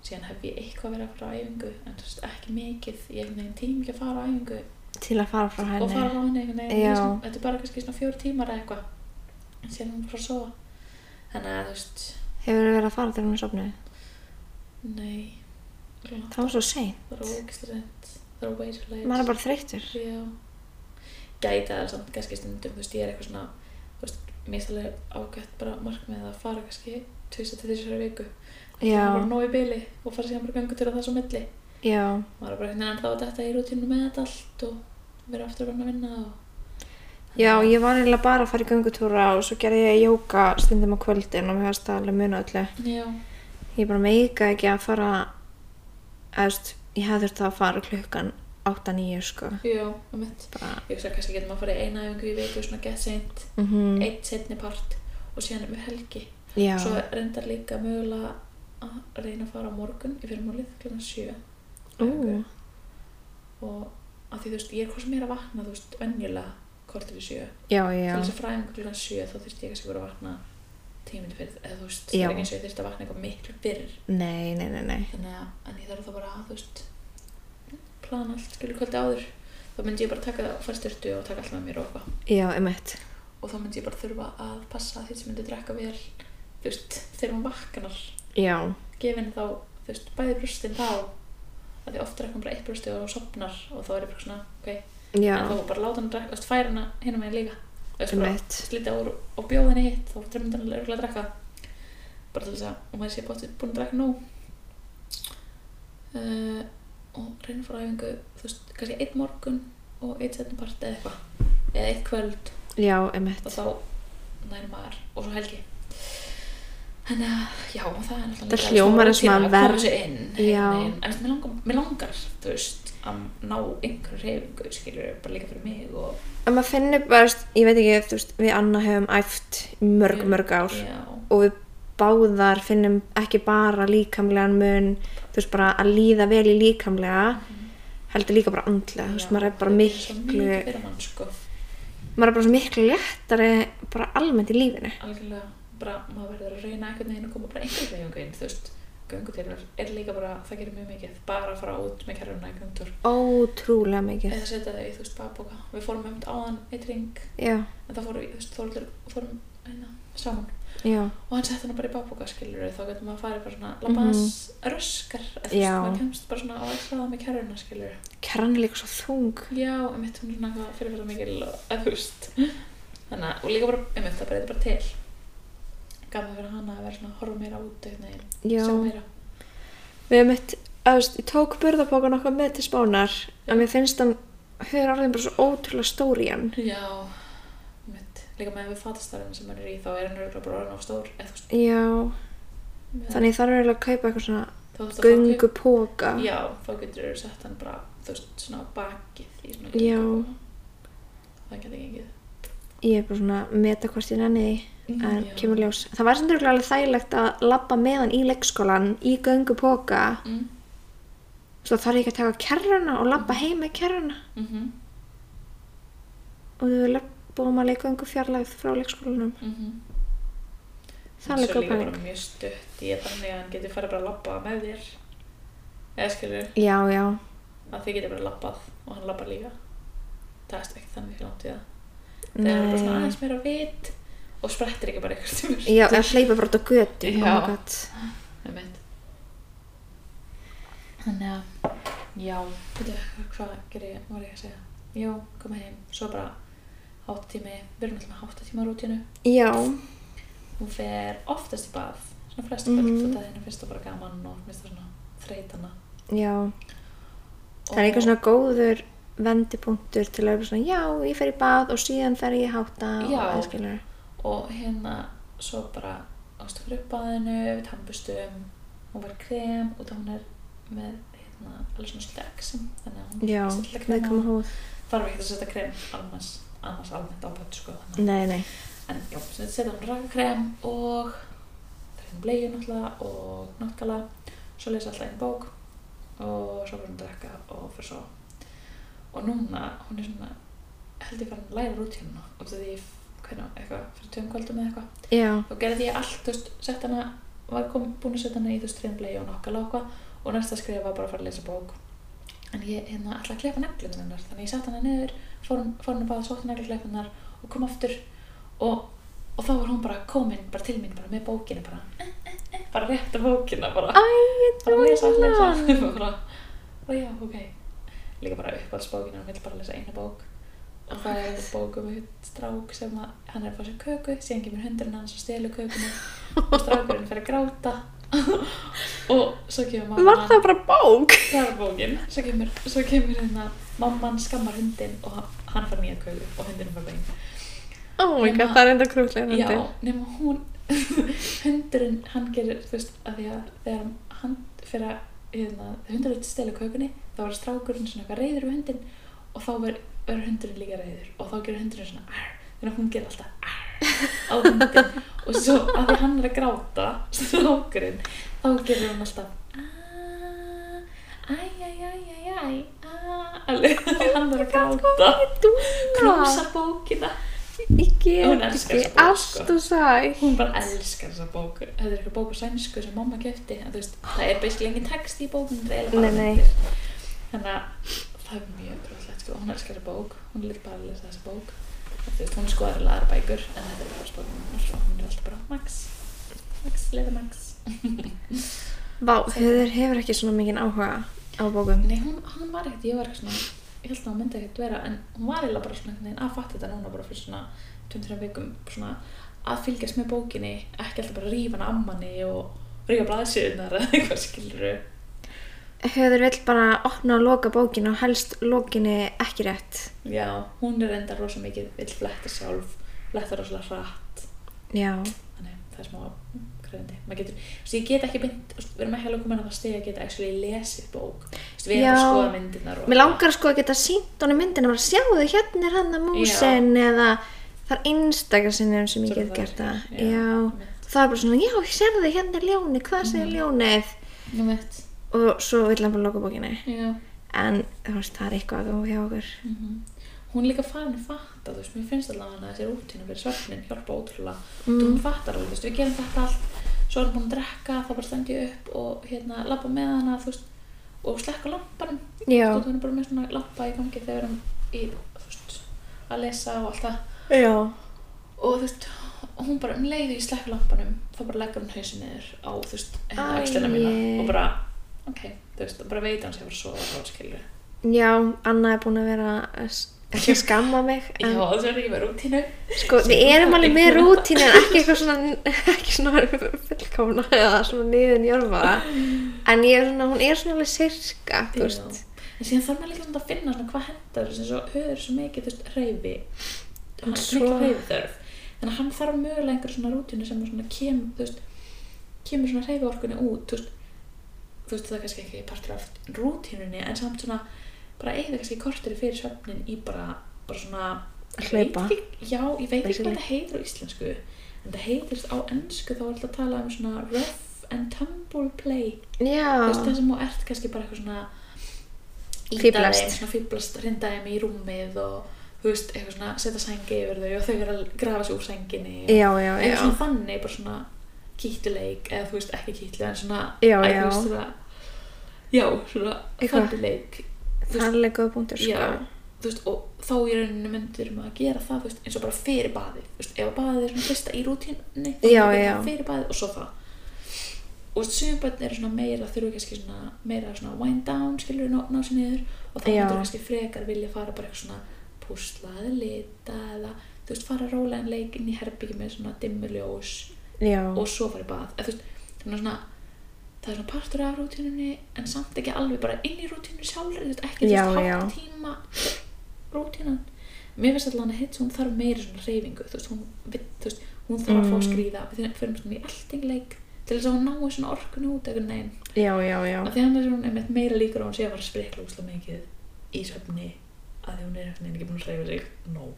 [SPEAKER 2] síðan hef ég eitthvað verið að fara á æfingu en þú veist, ekki mikið, ég hef neginn tími ekki að fara á æfingu
[SPEAKER 1] Til að fara frá
[SPEAKER 2] og
[SPEAKER 1] henni.
[SPEAKER 2] fara á henni einhvern veginn,
[SPEAKER 1] Já.
[SPEAKER 2] ég er svona- þetta er bara kannski svona fjóru tímar eða eitthvað en síðan er hún bara að sofa þannig að þú veist,
[SPEAKER 1] Hefur verið að fara þegar hún er sopnuð?
[SPEAKER 2] nei Svona
[SPEAKER 1] Það var svo sein.
[SPEAKER 2] Það er ógæslega sent. Það er way too late.
[SPEAKER 1] Maður er bara þreyttur.
[SPEAKER 2] Já. Gæta það samt kannski stundum, þú veist, ég er eitthvað svona, þú veist, mér er alveg ágætt bara markmið að fara kannski tvisa til þessari viku. Það er bara
[SPEAKER 1] Já.
[SPEAKER 2] nóg í byli og fara síðan bara gangu til þess á milli.
[SPEAKER 1] Já.
[SPEAKER 2] Maður er bara einhvern veginn ennþá að detta í rútínu með þetta allt og vera aftur að vinna og...
[SPEAKER 1] Já, ég var eiginlega bara að fara í göngutúra og svo gerði ég jóka stundum á kvöldin og mér varst það alveg muna öllu.
[SPEAKER 2] Já.
[SPEAKER 1] Ég bara meika ekki að fara, eðst, ég hefði þurft að fara klukkan 8-9 sko.
[SPEAKER 2] Já, um mitt.
[SPEAKER 1] Bara,
[SPEAKER 2] Ég hugsa kannski getur maður að fara í eina efingu í viku, svona gett seint,
[SPEAKER 1] mm
[SPEAKER 2] eitt setni part og síðan um helgi.
[SPEAKER 1] Já.
[SPEAKER 2] Svo reyndar líka mögulega að reyna að fara á morgun í fyrrmálið kl. 7
[SPEAKER 1] Ú,
[SPEAKER 2] og að því þú veist, ég er hvað sem er að vakna þú veist, venjulega kortir í 7
[SPEAKER 1] já,
[SPEAKER 2] til
[SPEAKER 1] já.
[SPEAKER 2] þess að fræðingur kl. 7 þá þurfti ég kannski bara að vakna tíminn fyrir eða þú veist,
[SPEAKER 1] Já.
[SPEAKER 2] það er ekki eins og ég þurfti að vakna eitthvað miklu fyrr
[SPEAKER 1] Nei, nei, nei, nei.
[SPEAKER 2] þannig að en ég þarf þá bara að þú veist plana allt skilur kvöldi áður þá myndi ég bara taka það og fara í styrtu og taka allt með mér og eitthvað
[SPEAKER 1] Já, emitt.
[SPEAKER 2] og þá myndi ég bara þurfa að passa að því sem myndi drekka vel þú veist, þegar hún vaknar
[SPEAKER 1] Já,
[SPEAKER 2] gefin þá, þú veist, bæði brjóstin þá að því oft drekka hún bara eitt brjósti og sopnar og þá er ég bara svona, ok
[SPEAKER 1] já,
[SPEAKER 2] en þá má bara láta hann drekka, þú veist, færa hana hérna meginn líka þú veist, bara
[SPEAKER 1] emitt.
[SPEAKER 2] slita úr og bjóða henni hitt þá drefnir hann örgulega að drekka bara til þess að hún væri sér bóttið búin að drekka nóg uh, og reyna frá æfingu þú veist, kannski eitt morgun og eitt setnum part eða eitthvað eða eitt kvöld
[SPEAKER 1] Já, emitt.
[SPEAKER 2] og þá næri maður og svo helgi þannig að já, það er náttúrulega
[SPEAKER 1] Það hljómar eins og maður verð-
[SPEAKER 2] verð en
[SPEAKER 1] Já.
[SPEAKER 2] mér langar, mér langar þú veist, að ná einhver reyfingu skilur, bara líka fyrir mig og
[SPEAKER 1] En maður finnur bara, veist, ég veit ekki, þú veist, við Anna hefum æft í
[SPEAKER 2] Mm,
[SPEAKER 1] mörg, mörg ár
[SPEAKER 2] já,
[SPEAKER 1] og við báðar finnum ekki bara líkamlegan mun, þú veist, bara að líða vel í líkamlega, heldur líka bara andlega, þú veist, maður er bara
[SPEAKER 2] það gerir svo
[SPEAKER 1] miklu,
[SPEAKER 2] mikið fyrir mann sko,
[SPEAKER 1] maður er bara svo miklu léttari bara almennt í lífinu.
[SPEAKER 2] algjörlega bara, maður verður að reyna einhvern veginn að koma bara einhver reyfingu inn, þú veist göngutýrar er líka bara, það gerir mjög mikið bara að fara út með kærluna í göngutúr
[SPEAKER 1] Ótrúlega mikið.
[SPEAKER 2] eða setja það í, þú veist, babbóka við fórum um áðan eitt ring
[SPEAKER 1] Já,
[SPEAKER 2] en það fóru, þú veist, Þorlur fórum hérna, saman
[SPEAKER 1] já,
[SPEAKER 2] og hann setti hann bara í babbóka, skilur þá getur maður að fara bara svona, labba hans röskar eða þú
[SPEAKER 1] Mhm. Já.
[SPEAKER 2] veist, maður kemst bara svona á að hraða með kæruna, skilur
[SPEAKER 1] kæran er líka svo þung.
[SPEAKER 2] já, einmitt, hún er svona eitthvað fyrirfæra mikil og, eða þú veist þannig að, og líka bara, einmitt, það breytir bara til gaman fyrir hana að vera svona að horfa meira út, einhvern
[SPEAKER 1] Já.
[SPEAKER 2] veginn, sjá meira
[SPEAKER 1] Við hefum eitt, að veist, ég tók burðabókan okkar með til spánar en mér finnst hann, hefur orðin bara svo ótrúlega stór í hann.
[SPEAKER 2] já, einmitt, líka með við fatastarinn sem hann er í, þá er hann örugglega bara orðinn of stór, eða þú veist,
[SPEAKER 1] Já,
[SPEAKER 2] með-
[SPEAKER 1] þannig ég þarf eiginlega að kaupa eitthvað svona
[SPEAKER 2] þá þarftu að fá kaup-
[SPEAKER 1] göngupóka.
[SPEAKER 2] Já, þá getur þú sett hann bara, þú veist, svona á bakið í svona
[SPEAKER 1] Já.
[SPEAKER 2] göngu. Það getur gengið.
[SPEAKER 1] Ég er bara svona að meta hvort ég nenni því,
[SPEAKER 2] Mm,
[SPEAKER 1] en
[SPEAKER 2] já.
[SPEAKER 1] kemur ljós. Það var sem þurflega alveg þægilegt að labba með hann í leikskólan í göngupóka,
[SPEAKER 2] Mm.
[SPEAKER 1] svo þarf ég ekki að taka kerruna og labba heim með kerruna.
[SPEAKER 2] Mm -hmm.
[SPEAKER 1] Og þú er búin að leika göngu fjarlægð frá leikskólanum.
[SPEAKER 2] Mm -hmm.
[SPEAKER 1] Það er líka
[SPEAKER 2] líka
[SPEAKER 1] pæling.
[SPEAKER 2] bara mjög stutt í að þannig að hann getur farið bara að labba með þér. Eða skilur,
[SPEAKER 1] Já, já,
[SPEAKER 2] að þið getur bara labbað og hann labbar líka. Það er ekki þannig fyrir langt í það. Það er bara svona
[SPEAKER 1] nei,
[SPEAKER 2] aðeins meira vit og sprettir ekki bara eitthvað til mér
[SPEAKER 1] Já, eða hleypa bara út á götu oh
[SPEAKER 2] Já.
[SPEAKER 1] my god.
[SPEAKER 2] um eitt þannig að já, veitu, hvað gerir ég var ég að segja, já, koma heim svo bara háttatími við erum alltaf með háttatíma rútinu
[SPEAKER 1] Já,
[SPEAKER 2] hún fer oftast í bað svona flest
[SPEAKER 1] Mhm.
[SPEAKER 2] mm -hmm. kvöld og það finnst það bara gaman og finnst það svona þreytana
[SPEAKER 1] já. Það er eitthvað svona góður vendipunktur til að vera svona, já, ég fer í bað og síðan fer ég í hátta og
[SPEAKER 2] Já.
[SPEAKER 1] það skilur.
[SPEAKER 2] og hérna svo bara ástu fyrir uppbaðinu við tampustum, hún var krem og þá hún er með hérna, alveg svona svolítið exum þannig að hún
[SPEAKER 1] Já,
[SPEAKER 2] svolítið að
[SPEAKER 1] við komum
[SPEAKER 2] krema
[SPEAKER 1] hóð.
[SPEAKER 2] þarf ekki að setja krem annars, annars almennt á bætt sko þannig að-
[SPEAKER 1] Nei, nei.
[SPEAKER 2] en já, svo setja hún rakakrem og það er hérna bleiu náttúrulega og náttúrulega svo lesa alltaf einn bók og svo fyrir hún að drekka og fyrir svo og núna, hún er svona held ég farin að læra rútínuna og það því, hvernig, eitthvað, fyrir tveim kvöldum eða eitthvað
[SPEAKER 1] Já,
[SPEAKER 2] þá gerði ég allt, þú veist, sett hana var kom, búin að setja hana í þú veist treinblei og nokkala og eitthvað og næsta skrifa var bara að fara að lesa bók en ég hérna alltaf að klefa neglunum hennar þannig ég sett hana niður, fór, fór hana bara sótti neglukleifunnar og kom aftur og, og þá var hún bara komin bara til mín, bara með bókina bara, eh, eh, eh, bara rétt af bókina bara
[SPEAKER 1] Æ, ég
[SPEAKER 2] bara að lesa <laughs> allir
[SPEAKER 1] trúi
[SPEAKER 2] saman og bara, og já, ok líka bara uppáhaldsbókina, hann vil bara lesa eina bók
[SPEAKER 1] Ah.
[SPEAKER 2] og það er bók um einn strák sem að, hann er að fá sér köku síðan kemur hundurinn hans og stelur kökuna og strákurinn fer að gráta <laughs> og svo kemur mamma
[SPEAKER 1] Var það bara bók?
[SPEAKER 2] það er bókin svo kemur, svo kemur hérna mamman skammar hundinn og hann- hann fær nýja köku og hundurinn fær bein
[SPEAKER 1] Oh my god,
[SPEAKER 2] Nema-
[SPEAKER 1] það er enda krútlega hundi.
[SPEAKER 2] Já, nema hún <laughs> hundurinn, hann gerir, þú veist, að því að þegar hann fyrir að hérna, þegar hundurinn stelu kökunni, þá er strákurinn svona eitthvað reyður við hundinn og þá ver- verður hundurinn líka reyður og þá gerir hundurinn svona arr, þannig að hún gerir alltaf arr á hundinn <laughs> og svo að því hann er að gráta strákurinn, þá gerir hann alltaf "Ah, æ, æ, æ, æ, æ, æ, ah", alveg, hann er að gráta knúsa bókina
[SPEAKER 1] Ég
[SPEAKER 2] Hún
[SPEAKER 1] get
[SPEAKER 2] elskar
[SPEAKER 1] ekki
[SPEAKER 2] þessa bók, sko.
[SPEAKER 1] ást og sæl.
[SPEAKER 2] hún bara elskar þessa bók þetta er eitthvað bók á sænsku sem mamma kefti en þú
[SPEAKER 1] <gasps>
[SPEAKER 2] veist, það er basically engin text í bókun það er eiginlega bara
[SPEAKER 1] Nei, nei.
[SPEAKER 2] myndir þannig að það er mjög brúðlegt sko. hún elskar þessa bók, hún vil bara lesa þessa bók þú veist, hún skoðar alveg aðra bækur en þetta er bara spókun og hún er alltaf bara Max, Max, leða Max
[SPEAKER 1] Vá, þau hefur ekki svona mikið áhuga á bókum.
[SPEAKER 2] nei, hún, hún var ekkert, ég var ekkert svona ég held að hún myndi ekkert vera en hún var eiginlega bara svona einhvern veginn að fatta þetta núna bara fyrir svona 2-3 vikum svona að fylgjast með bókinni ekki alltaf bara rífa hana ammanni og rífa blaðsíðunar eða eitthvað skilur
[SPEAKER 1] Höður vill bara opna og loka bókin og helst lokinni ekki rétt.
[SPEAKER 2] já, hún er enda rosa mikið vill fletta sjálf, fletta rosalega hratt
[SPEAKER 1] Já,
[SPEAKER 2] þannig það er smá kröðandi maður getur, svo ég get ekki mynd við erum ekki alveg komin að það stegi að geta actually lesið bók Þú veist, við erum
[SPEAKER 1] Já.
[SPEAKER 2] að skoða myndirnar og
[SPEAKER 1] Mér langar sko að geta sínt honum myndina bara sjáðu hérna er hann að músin eða það er einstakar sinnum sem ég
[SPEAKER 2] Svo er
[SPEAKER 1] get
[SPEAKER 2] það
[SPEAKER 1] gert það.
[SPEAKER 2] þannig,
[SPEAKER 1] Já.
[SPEAKER 2] já,
[SPEAKER 1] Það er bara svona, já, sérðu hérna er ljónið, hvað segir ljónið?
[SPEAKER 2] Nú veit,
[SPEAKER 1] Og svo vill hann bara loka bókinni.
[SPEAKER 2] já
[SPEAKER 1] En þú veist, það er eitthvað að þú hjá okkur.
[SPEAKER 2] -hmm. Hún er líka farin að fatta, þú veist, mér finnst allavega hana þessi rútina fyrir svefnin hjálpa ótrúlega. Mm.
[SPEAKER 1] Mhm.
[SPEAKER 2] Hún fattar alveg, þú veist, við gerum þetta allt, svo er hún búin að drekka, þá bara stend ég upp og hérna labba með hana, þú veist, og slekka lampanum.
[SPEAKER 1] Já.
[SPEAKER 2] Þú veist, hún er bara með svona lampa í gangi þegar við erum í, þú veist, að lesa og allt það.
[SPEAKER 1] Já.
[SPEAKER 2] Og þú veist, og hún bara um leiði í slekka lampanum, þá bara leggur hún hausin niður á, þú veist, hérna
[SPEAKER 1] Æi.
[SPEAKER 2] axlina mína og bara, ok, þú veist, og bara veit að hann sé að fara að sofa, þá skilur
[SPEAKER 1] Já, Anna er búin að vera að s- ekki að skamma mig.
[SPEAKER 2] Já,
[SPEAKER 1] En,
[SPEAKER 2] þess vegna er ég með rútínu.
[SPEAKER 1] sko, við erum alveg með rútínu en ekki eitthvað svona, ekki svona fullkomna eða svona niðunjörfaða. En ég er svona, hún er svona alveg sirka, þú veist.
[SPEAKER 2] Já. en síðan þarf maður líka svona að finna svona hvað hendar þessu eins og höfður svo mikið þú veist hreyfi hann er
[SPEAKER 1] Svo-
[SPEAKER 2] mikil hreyfi þörf þannig að hann þarf mögulega einhver svona rútínu sem er svona kem, þú veist, kemur svona hreyfiorkunni út þú veist, þú veist það er kannski ekki partur af rútínunni en samt svona bara eða kannski kortir fyrir svefnin í bara, bara svona ég veit
[SPEAKER 1] Hlaupa.
[SPEAKER 2] ekki- já, ég veit ekki
[SPEAKER 1] Basically.
[SPEAKER 2] hvað þetta heitir á íslensku en þetta heitir á ennsku þá er alltaf að tala um svona rough and tumble play þú veist það
[SPEAKER 1] Já,
[SPEAKER 2] sem þú ert kannski bara eitthvað svona ýta
[SPEAKER 1] Fíflast.
[SPEAKER 2] þeim, svona fýblast, rinda þeim í rúmið og þú veist, eitthvað svona setja sængi yfir þau og þau eru að grafa sér úr sænginni og
[SPEAKER 1] já, já,
[SPEAKER 2] eitthvað
[SPEAKER 1] já.
[SPEAKER 2] svona þannig, bara svona kýttuleik eða þú veist, ekki kýttu en svona
[SPEAKER 1] Já,
[SPEAKER 2] að,
[SPEAKER 1] já.
[SPEAKER 2] þú veist, svona, já, svona
[SPEAKER 1] Eitthvað.
[SPEAKER 2] þannig leik
[SPEAKER 1] Það er alveg góð punktur, sko.
[SPEAKER 2] já, þú veist, og þá í rauninni myndir maður að gera það, þú veist, eins og bara fyrir baði þú veist, ef að baðið er svona fyrsta í rútínni þá
[SPEAKER 1] Já,
[SPEAKER 2] er bara
[SPEAKER 1] já.
[SPEAKER 2] fyrir baðið og svo það og sumir börn eru svona meira þurfa kannski svona, meira svona wind down skilur ná, ná sér niður og þá
[SPEAKER 1] Já.
[SPEAKER 2] myndir kannski frekar vilja fara bara eitthvað svona púsla eða lita eða þú veist, fara rólega en leik inn í herbyggi með svona dimmuljós
[SPEAKER 1] já,
[SPEAKER 2] og svo fara í bað eða, þú veist, þannig að svona það er svona partur af rútínunni en samt ekki alveg bara inn í rútínunni sjálfur þú veist, ekki
[SPEAKER 1] Já,
[SPEAKER 2] þú
[SPEAKER 1] já.
[SPEAKER 2] veist, hálft tíma rútínan mér finnst allan að hitt hún þarf meira svona reyfingu þú veist, hún, vill- þú veist, hún þarf
[SPEAKER 1] Mm.
[SPEAKER 2] að fá að skríða við þurfum- förum svona í eltingleik til þess að hún nái svona orkunu út eitthvað neginn
[SPEAKER 1] já, já, já.
[SPEAKER 2] af því hann er svona einmitt meira líkur á að hún sé að fara að sprikla úsla mikið í söfni að því hún er einhvern veginn ekki búin að reyfa sig no.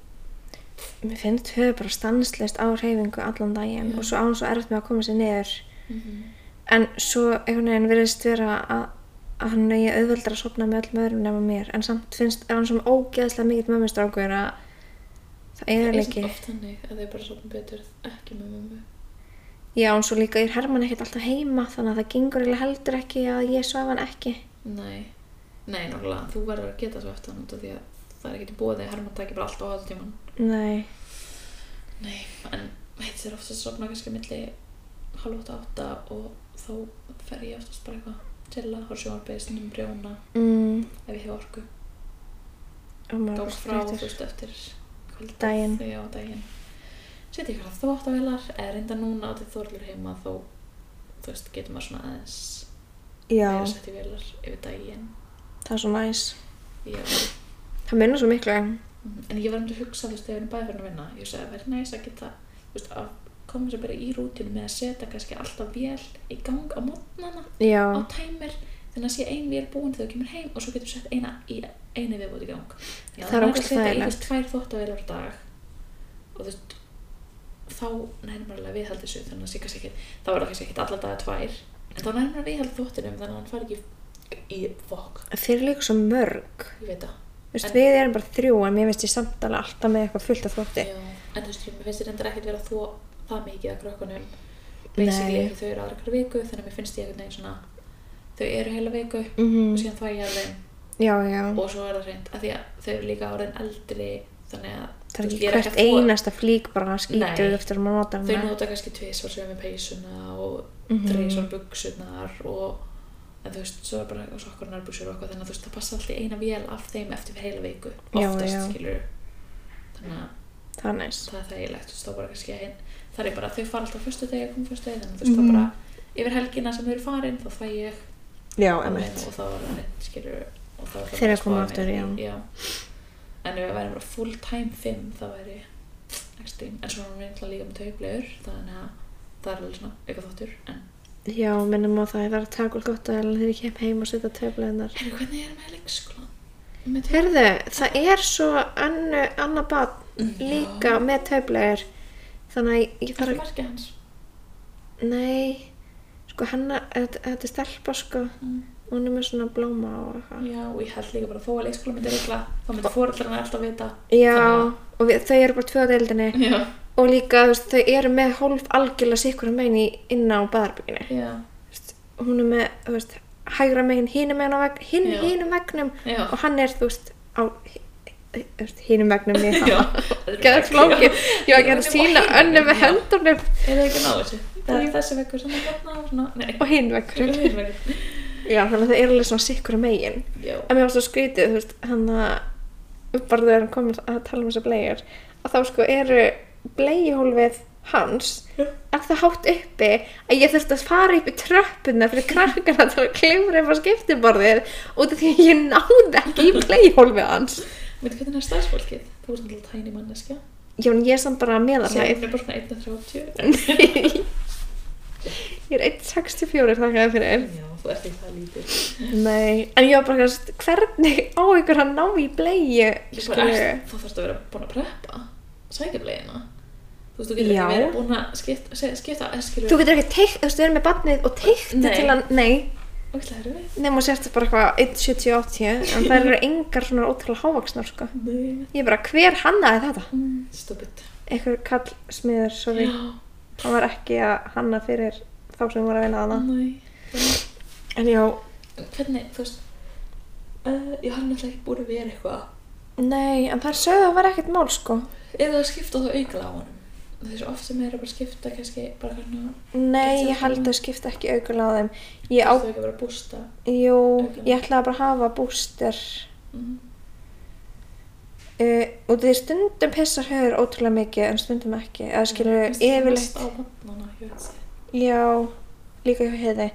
[SPEAKER 1] Mér finnst höfu bara stanslist á reyfingu allan daginn
[SPEAKER 2] Já.
[SPEAKER 1] og svo á hún svo erft með að koma sér niður.
[SPEAKER 2] mm -hmm.
[SPEAKER 1] En svo einhvern veginn virðist vera að, að hann eigi auðveldar að sopna með öllum öðrum nema mér. En samt finnst, ef hann sem ógeðslega mikill mömmustrákur að það er
[SPEAKER 2] það
[SPEAKER 1] eiginlega
[SPEAKER 2] er svona
[SPEAKER 1] ekki.
[SPEAKER 2] oft þannig að þau bara sopna betur ekki með mömmu
[SPEAKER 1] Já, en svo líka er Herman ekkert alltaf heima þannig að það gengur eiginlega heldur ekki að ég svaf hann ekki.
[SPEAKER 2] Nei, nei, nákvæmlega, þú verður að geta svo eftir hann út af því að það er ekki búið þegar Herman takir bara allt á allt tíman.
[SPEAKER 1] Nei,
[SPEAKER 2] Nei, en heitt sér oftast sofna kannski milli halvóta átta og þá fer ég oftast bara eitthvað chilla, horf sjónarbyrði, stundum brjóna
[SPEAKER 1] mm,
[SPEAKER 2] ef ég hef orku,
[SPEAKER 1] og maður
[SPEAKER 2] gá
[SPEAKER 1] bara
[SPEAKER 2] frá þú
[SPEAKER 1] þreyttur.
[SPEAKER 2] veist eftir kvöldið.
[SPEAKER 1] Daginn.
[SPEAKER 2] Já, daginn. Setja ykkur að þvóttavélar, eða reynda núna að þið þorlur heima þó, þú veist, getur maður svona aðeins
[SPEAKER 1] Já,
[SPEAKER 2] meira sett í vélar yfir daginn.
[SPEAKER 1] það er svo næs.
[SPEAKER 2] Já.
[SPEAKER 1] Það minna svo miklu.
[SPEAKER 2] Mhm. En ég var um að hugsa, þú veist, þegar ég er bæði fyrir að vinna, ég sagði, verði næst að geta, þú veist, að koma sér bara í rútinu með að setja kannski alltaf vél í gang á mótnana
[SPEAKER 1] Já,
[SPEAKER 2] á tæmir, þannig að sé ein vél búin þegar þú kemur heim og svo getur sett eina í einu viðbúti í gang. Já,
[SPEAKER 1] Það er
[SPEAKER 2] nær að
[SPEAKER 1] ógeðslega
[SPEAKER 2] setja í, þú
[SPEAKER 1] þægilegt.
[SPEAKER 2] veist, tvær þóttavélar á dag og þú veist, þá nærmar alveg að viðhaldi þessu, þannig að sé kannski ekki, þá er það kannski ekki alltaf dagar tvær, en þá nærmar að viðhaldi þóttinum, þannig að hann fari ekki í fokk,
[SPEAKER 1] þeir eru líka svo mörg.
[SPEAKER 2] ég veit það.
[SPEAKER 1] Þú veist, við erum bara þrjú en mér finnst ég samt alveg alltaf með eitthvað fullt af þvótti.
[SPEAKER 2] Já, en þú veist, mér finnst ég reyndar ekkert vera þó það mikið að krökkunum basically
[SPEAKER 1] Nei.
[SPEAKER 2] ekki þau eru aðra hverja viku þannig að mér finnst ég einhvern veginn svona þau eru heila viku
[SPEAKER 1] Mm.
[SPEAKER 2] og síðan þvæ ég að þeim
[SPEAKER 1] Já, já.
[SPEAKER 2] Mhm. og svo er það reynd að því að þau eru líka orðin eldri þannig að
[SPEAKER 1] Það er
[SPEAKER 2] þú veist,
[SPEAKER 1] ekki
[SPEAKER 2] ég
[SPEAKER 1] hvert
[SPEAKER 2] að þvo-
[SPEAKER 1] einasta flík bara skýtu
[SPEAKER 2] Nei.
[SPEAKER 1] eftir að maður nota
[SPEAKER 2] þau
[SPEAKER 1] hana.
[SPEAKER 2] nota kannski tvisvar sem við peysuna og
[SPEAKER 1] Mhm.
[SPEAKER 2] þrisvar buksunar og en þú veist, svo er bara og sokkur og nærbuksur og eitthvað þannig að þú veist, það passa alltaf í eina vél af þeim eftir heila viku
[SPEAKER 1] Já,
[SPEAKER 2] oftast
[SPEAKER 1] já.
[SPEAKER 2] skilur þannig að
[SPEAKER 1] Það er næst.
[SPEAKER 2] það er þægilegt, þú veist, þá bara kannski að hinn það er bara, þau fara alltaf fyrstu degi, kom fyrstu degi þannig, þú veist,
[SPEAKER 1] Mhm.
[SPEAKER 2] þá bara yfir helgina sem þau eru farin, þá fæ ég
[SPEAKER 1] Já,
[SPEAKER 2] á minn
[SPEAKER 1] emitt.
[SPEAKER 2] og þá er það mitt, skilur og þá er það
[SPEAKER 1] Þeir
[SPEAKER 2] bara
[SPEAKER 1] eru að koma
[SPEAKER 2] spáin
[SPEAKER 1] aftur,
[SPEAKER 2] í-
[SPEAKER 1] já.
[SPEAKER 2] já en ef við væri bara full time 5 þá væri extreme, en svo erum við náttúrulega líka með tauplegur þannig að það er alveg svona eitthvað þáttur en
[SPEAKER 1] Já, minnum á það, ég þarf að taka úr gott að þegar ég kem heim og setja töfleginar.
[SPEAKER 2] herru, hvernig er með leikskólan? Með tauplegur?
[SPEAKER 1] Herðu, það er svo annu, annað barn
[SPEAKER 2] Já.
[SPEAKER 1] líka með töflegir. Þannig að ég
[SPEAKER 2] Það er
[SPEAKER 1] þarf að,
[SPEAKER 2] margið hans
[SPEAKER 1] nei, sko hennar, þetta þetta er stelpa sko,
[SPEAKER 2] mm.
[SPEAKER 1] hún er með svona blóma og eitthvað.
[SPEAKER 2] Já, og ég held líka bara þó að leikskóla myndi regla þá myndi fóreldrarna alltaf vita
[SPEAKER 1] Já,
[SPEAKER 2] Þannig
[SPEAKER 1] og við, þau eru bara tvö á deildinni.
[SPEAKER 2] Já,
[SPEAKER 1] og líka þú veist, þau eru með hólf algjörlega sikkur megin í inn á baðarbygginu
[SPEAKER 2] já,
[SPEAKER 1] hún er með þú veist, hægra megin hínum megin á vegg hinn
[SPEAKER 2] Já.
[SPEAKER 1] hínum vegnum
[SPEAKER 2] já
[SPEAKER 1] og hann er þú veist á hi- hi- þú veist, hínum vegnum
[SPEAKER 2] <laughs>
[SPEAKER 1] í
[SPEAKER 2] Já,
[SPEAKER 1] það
[SPEAKER 2] þetta er
[SPEAKER 1] geða
[SPEAKER 2] bara-
[SPEAKER 1] flókið ég var ekki
[SPEAKER 2] Já,
[SPEAKER 1] að
[SPEAKER 2] þetta er
[SPEAKER 1] sína
[SPEAKER 2] bara
[SPEAKER 1] önnu með
[SPEAKER 2] já.
[SPEAKER 1] hendunum
[SPEAKER 2] Er það ekki að ná þessu? Það er þessi vekkur sem er hérna og svona, nei,
[SPEAKER 1] og hinn vegnum
[SPEAKER 2] <laughs> hinn vekkur.
[SPEAKER 1] já þannig að það eru alveg svona sikkur megin
[SPEAKER 2] Já.
[SPEAKER 1] en mér var svo skrítið þú veist hann að bara þegar hann kom að tala um þessa blegjur að þá sko eru blegjhólfið hans
[SPEAKER 2] Já.
[SPEAKER 1] er það hátt uppi að ég þurfti að fara upp í tröppuna fyrir krakkana til að klifra upp á skiptiborðið út af því að ég náði ekki í blegjhólfið hans
[SPEAKER 2] Veitu hvernig er starfsfólkið? Þú ert náttúrulega tæni manneska.
[SPEAKER 1] já en ég er samt bara meðalæð
[SPEAKER 2] Sér er bara svona
[SPEAKER 1] <laughs>
[SPEAKER 2] 1.30.
[SPEAKER 1] ég er 1.64 þakkaði fyrir
[SPEAKER 2] Já, þú ert ekki það lítið.
[SPEAKER 1] Nei. en ég var bara kannast hvernig á ykkur að ná í blegju
[SPEAKER 2] Þú
[SPEAKER 1] skilurðu?
[SPEAKER 2] þarfst að vera búin að preppa sækjaflegina. Þú veist, þú getur
[SPEAKER 1] Já.
[SPEAKER 2] ekki verið búin að skipta, se- skipta, eh, skilur.
[SPEAKER 1] þú getur ekki teikt, þú veist, við erum með barnið og teikti
[SPEAKER 2] Nei.
[SPEAKER 1] til að, nei,
[SPEAKER 2] Ógætlega erum við.
[SPEAKER 1] nema sért bara eitthvað 1,70-80, en það <laughs> eru engar svona ótrúlega hávaksnar, sko.
[SPEAKER 2] Nei.
[SPEAKER 1] Ég er bara, hver hannaði þetta?
[SPEAKER 2] Mm, Stupid.
[SPEAKER 1] Einhver kall smiður, sorry,
[SPEAKER 2] Já.
[SPEAKER 1] hann var ekki að hanna fyrir þá sem voru að vinna þarna.
[SPEAKER 2] Nei.
[SPEAKER 1] En já,
[SPEAKER 2] eh, En Hvernig, þú veist, uh, ég har náttúrulega ekki búin að vera eitthvað
[SPEAKER 1] Nei, en þær sögðu að það var ekkert mál sko.
[SPEAKER 2] Eða að skipta þá aukala á honum. Þessu oft sem er að bara skipta kannski bara hvernig
[SPEAKER 1] Nei,
[SPEAKER 2] Þetta
[SPEAKER 1] ég
[SPEAKER 2] er
[SPEAKER 1] held
[SPEAKER 2] svona-
[SPEAKER 1] að skipta ekki aukulega á þeim. Ég á,
[SPEAKER 2] það ekki að vera að bústa.
[SPEAKER 1] jú,
[SPEAKER 2] Aukalega.
[SPEAKER 1] ég ætlaði bara að hafa búster.
[SPEAKER 2] Mm.
[SPEAKER 1] Uh, og því stundum pissar höfur ótrúlega mikið en stundum ekki. Eða skilur yfirleitt,
[SPEAKER 2] Mest á vannana, ég veit það.
[SPEAKER 1] já, líka hjá heiði.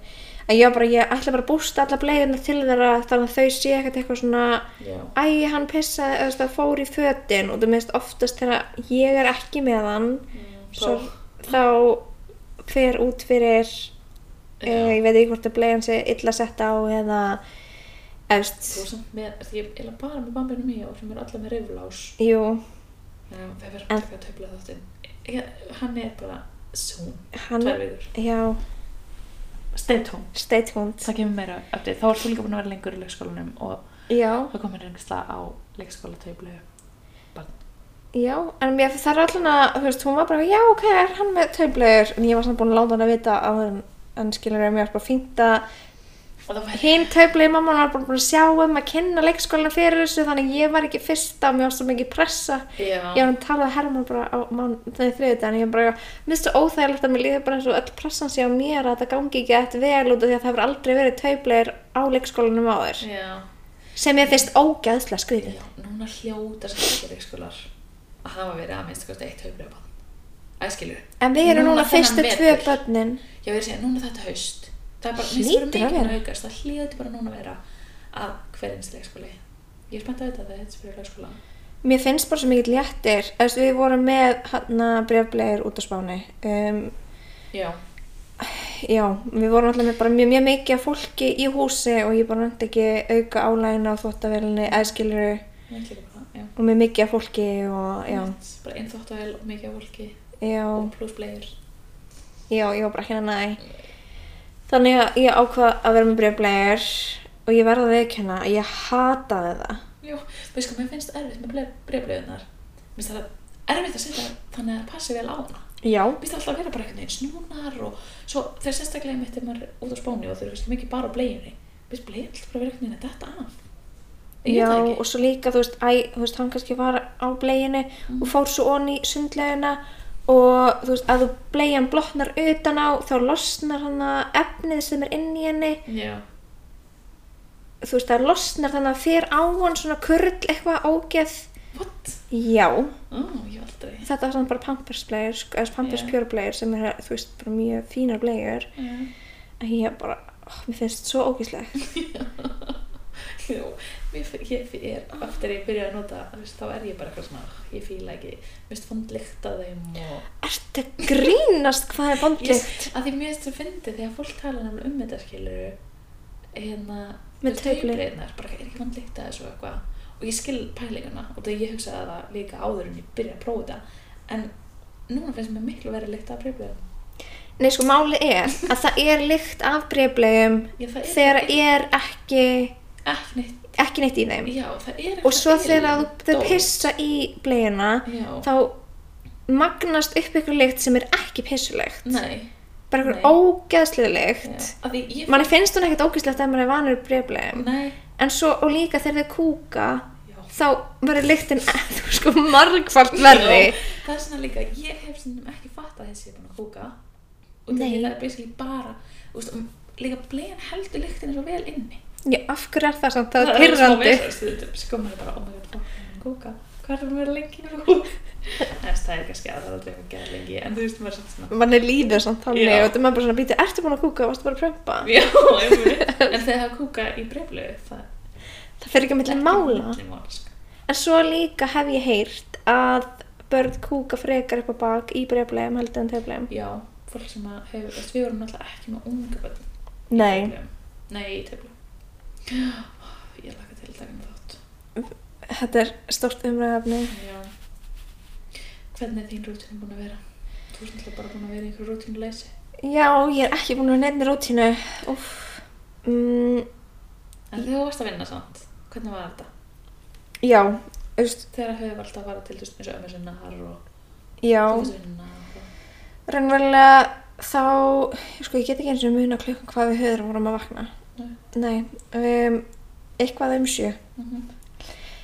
[SPEAKER 1] En já, bara, ég ætla bara að bústa alla bleiðunar til þeirra þannig að þau sé ekkert eitthvað svona
[SPEAKER 2] Já.
[SPEAKER 1] Æ, hann pissaði, eða þú veist, það fór í fötin og þú veist, oftast þegar ég er ekki með hann
[SPEAKER 2] Mm,
[SPEAKER 1] svo
[SPEAKER 2] Svo,
[SPEAKER 1] þá fer út fyrir e, ég
[SPEAKER 2] já.
[SPEAKER 1] veit ekki hvort að bleiðan sé illa sett á eða
[SPEAKER 2] Þú er
[SPEAKER 1] efst,
[SPEAKER 2] samt með, því ég er bara með bambinu mig og sem er alla með riflás.
[SPEAKER 1] jú
[SPEAKER 2] Já, við verðum
[SPEAKER 1] En-
[SPEAKER 2] að taka töfla þáttinn. Já, Hann er bara soon,
[SPEAKER 1] hann,
[SPEAKER 2] tvær vikur.
[SPEAKER 1] já,
[SPEAKER 2] Stay tuned.
[SPEAKER 1] stay tuned
[SPEAKER 2] Það kemur meira update. Þá er þú líka búin að vera lengur í leikskólanum og
[SPEAKER 1] já,
[SPEAKER 2] það komir reyngsla á leikskóla töflu.
[SPEAKER 1] já, en mér það er allan að, þú veist, hún var bara já, ok, er hann með taublegur en ég var samt búin að láta hann að vita á hann en skilur ég mér bara fínt að
[SPEAKER 2] Og það var
[SPEAKER 1] hinn taublegir mamma var bara búin að sjá um að kynna leikskólan fyrir þessu þannig að ég var ekki fyrsta og mér var svo mikið pressa
[SPEAKER 2] Já.
[SPEAKER 1] ég var að tala að Herman bara á þannig þriðið en ég bara, minnst svo óþægilegt að mér líður bara eins og öll pressan sé á mér að þetta gangi ekki eftir vel út af því að það hefur aldrei verið taubleir á leikskólanum áður
[SPEAKER 2] Já.
[SPEAKER 1] sem ég finnst ógæðslega skrítið
[SPEAKER 2] Já, núna hljóta sem ekki leikskólar að hafa verið að minnst kosti eitt hauglega bann. Æskilur.
[SPEAKER 1] en við erum núna, fyrstu
[SPEAKER 2] þennan
[SPEAKER 1] tvö
[SPEAKER 2] vetur.
[SPEAKER 1] börnin
[SPEAKER 2] Já, ég er að segja, núna þetta haust. Það er bara,
[SPEAKER 1] Hlýtur
[SPEAKER 2] minnst
[SPEAKER 1] að
[SPEAKER 2] bara mikið
[SPEAKER 1] vera.
[SPEAKER 2] aukast. Það hljóti bara núna að vera að hverjins leikskóli. Ég er spennt að vita að það er þetta fyrir leikskóla.
[SPEAKER 1] mér finnst bara svo mikill léttir Þú veist, við vorum með hann að brefbleir út á spáni um,
[SPEAKER 2] Já.
[SPEAKER 1] já, við vorum alltaf með bara mjög, mjög mikið af fólki í húsi og ég bara nönd ekki auka álægina á þvóttavelinni eðskiluru
[SPEAKER 2] Ég ætla líka bara, já.
[SPEAKER 1] og með mikið af fólki og já,
[SPEAKER 2] Mitt, Bara einn þóttavel og mikið af fólki
[SPEAKER 1] já.
[SPEAKER 2] og pluss bleiður.
[SPEAKER 1] Já, ég var bara ekki henni næ. Þannig að ég ákvað að vera með brefblegar og ég verði að viðkynna að ég hataði það.
[SPEAKER 2] Já, veist hvað, mér finnst erfitt með brefblöðunar. Mér finnst það erfitt að setja þannig að það passi vel á hana.
[SPEAKER 1] Já.
[SPEAKER 2] Mér finnst það alltaf að vera bara einhvern veginn snúnar og svo þegar sérstaklega mitt er maður út á spáni og þeir eru mikið bara á bleginni. Mér finnst blegin alltaf bara að vera einhvern veginn að detta af. Ég
[SPEAKER 1] Já,
[SPEAKER 2] veit það
[SPEAKER 1] og
[SPEAKER 2] ekki.
[SPEAKER 1] svo líka, þú veist, æ, þú veist, hann kannski var á bleginu og
[SPEAKER 2] Mm.
[SPEAKER 1] fór svo onni í sundleguna og þú veist, að þú blegjan blotnar utan á, þá losnar hann að efnið sem er inn í henni,
[SPEAKER 2] Já,
[SPEAKER 1] þú veist, það losnar þannig að fyrir á hann svona kurl eitthvað ógeð.
[SPEAKER 2] what?
[SPEAKER 1] Já,
[SPEAKER 2] Ó, ég aldrei. hérna.
[SPEAKER 1] þetta var svona bara pampersblegur, sko, eða pampers
[SPEAKER 2] Já.
[SPEAKER 1] yeah. sem er, þú veist, bara mjög fínar blegur. að ég bara, oh, mér finnst svo ógíslegt
[SPEAKER 2] Jú, mér finn- ég finn- er, eftir ég byrja að nota, þú veist, þá er ég bara eitthvað svona, ég fíla ekki, mér finnst vond lykt að þeim og...
[SPEAKER 1] Ertu að grínast hvað er
[SPEAKER 2] Yes,
[SPEAKER 1] vondlegt?
[SPEAKER 2] að því mér finnst það fyndi þegar fólk tala nefnilega um þetta skilur hérna
[SPEAKER 1] Með taubleið.
[SPEAKER 2] taubleiðnar, bara er ekki vant líkt að þessu og eitthvað og ég skil pælinguna og það ég hugsaði það líka áður en ég byrja að prófa þetta en núna finnst mér miklu verið líkt að breyfleiðum
[SPEAKER 1] Nei, sko, máli er að það er lykt af breyflegum
[SPEAKER 2] Já, það er
[SPEAKER 1] þegar
[SPEAKER 2] ekki-
[SPEAKER 1] er ekki,
[SPEAKER 2] ekki neitt,
[SPEAKER 1] ekki neitt í þeim
[SPEAKER 2] já það er
[SPEAKER 1] og svo
[SPEAKER 2] eitthvað
[SPEAKER 1] þegar að
[SPEAKER 2] ilmdót.
[SPEAKER 1] þú- þau pissa í bleguna
[SPEAKER 2] já,
[SPEAKER 1] þá magnast upp ykkur lykt sem er ekki pissulegt
[SPEAKER 2] nei,
[SPEAKER 1] bara ykkur
[SPEAKER 2] nei.
[SPEAKER 1] ógeðslega
[SPEAKER 2] já,
[SPEAKER 1] lykt
[SPEAKER 2] að því ég
[SPEAKER 1] manni finnst hún ekkert ógeðslegt ef maður er vanur breyflegum
[SPEAKER 2] nei,
[SPEAKER 1] en svo, og líka þegar þau kúka
[SPEAKER 2] já
[SPEAKER 1] þá verður lyktin <laughs> þú sko margfald verri
[SPEAKER 2] Já, það er svona líka, ég hef svona ekki fatt að þessi er búin að kúka og
[SPEAKER 1] Nei.
[SPEAKER 2] það er basically bara úst, líka blegin heldur lyktin svo vel inni
[SPEAKER 1] Já, af hverju er það samt? Það er
[SPEAKER 2] alveg smá
[SPEAKER 1] pyrrandi.
[SPEAKER 2] vesen, stundum, sko maður er bara, oh my god, fuck, ég er búin að kúka hvað er það að vera lengi að kúka <laughs> en það er kannski að það er aldrei að gera lengi en þú veist maður er samt svona <laughs>
[SPEAKER 1] Man er líður samt þannig
[SPEAKER 2] Já.
[SPEAKER 1] og þetta er maður bara svona býtið, ertu búin að kúka, varstu bara að prömpa?
[SPEAKER 2] Já, einmitt. en þegar það kúka í breflögu það
[SPEAKER 1] Það fer ekki að
[SPEAKER 2] er
[SPEAKER 1] milli
[SPEAKER 2] ekki
[SPEAKER 1] mála.
[SPEAKER 2] milli mála, sko.
[SPEAKER 1] En svo líka hef ég heyrt að börn kúka frekar upp á bak í breflegum heldur en teflegum.
[SPEAKER 2] já, fólk sem að hefur, þú veist, við vorum náttúrulega ekki með unga börn
[SPEAKER 1] Nei.
[SPEAKER 2] nei, í teflu <gasps> ég laka til daginn þátt
[SPEAKER 1] Þetta er stórt umræðafni.
[SPEAKER 2] Já. Hvernig er þín rútínu búin að vera? Þú ert náttúrulega bara búin að vera í einhverju rútínu leysi.
[SPEAKER 1] Já, ég er ekki búin að vera nefnir rútínu. Úff. Mm,
[SPEAKER 2] En þegar þú varst að vinna samt, hvernig var þetta?
[SPEAKER 1] já, þú veist,
[SPEAKER 2] Þegar höfðu var alltaf að fara til þú veist eins og ömmu sinnar og
[SPEAKER 1] já.
[SPEAKER 2] þú veist vinna og...
[SPEAKER 1] Rannverulega þá, sko ég get ekki eins og muna klukkan hvað við höfðum vorum að vakna.
[SPEAKER 2] Nei.
[SPEAKER 1] Nei. Um, eitthvað um sjö.
[SPEAKER 2] Mm -hmm.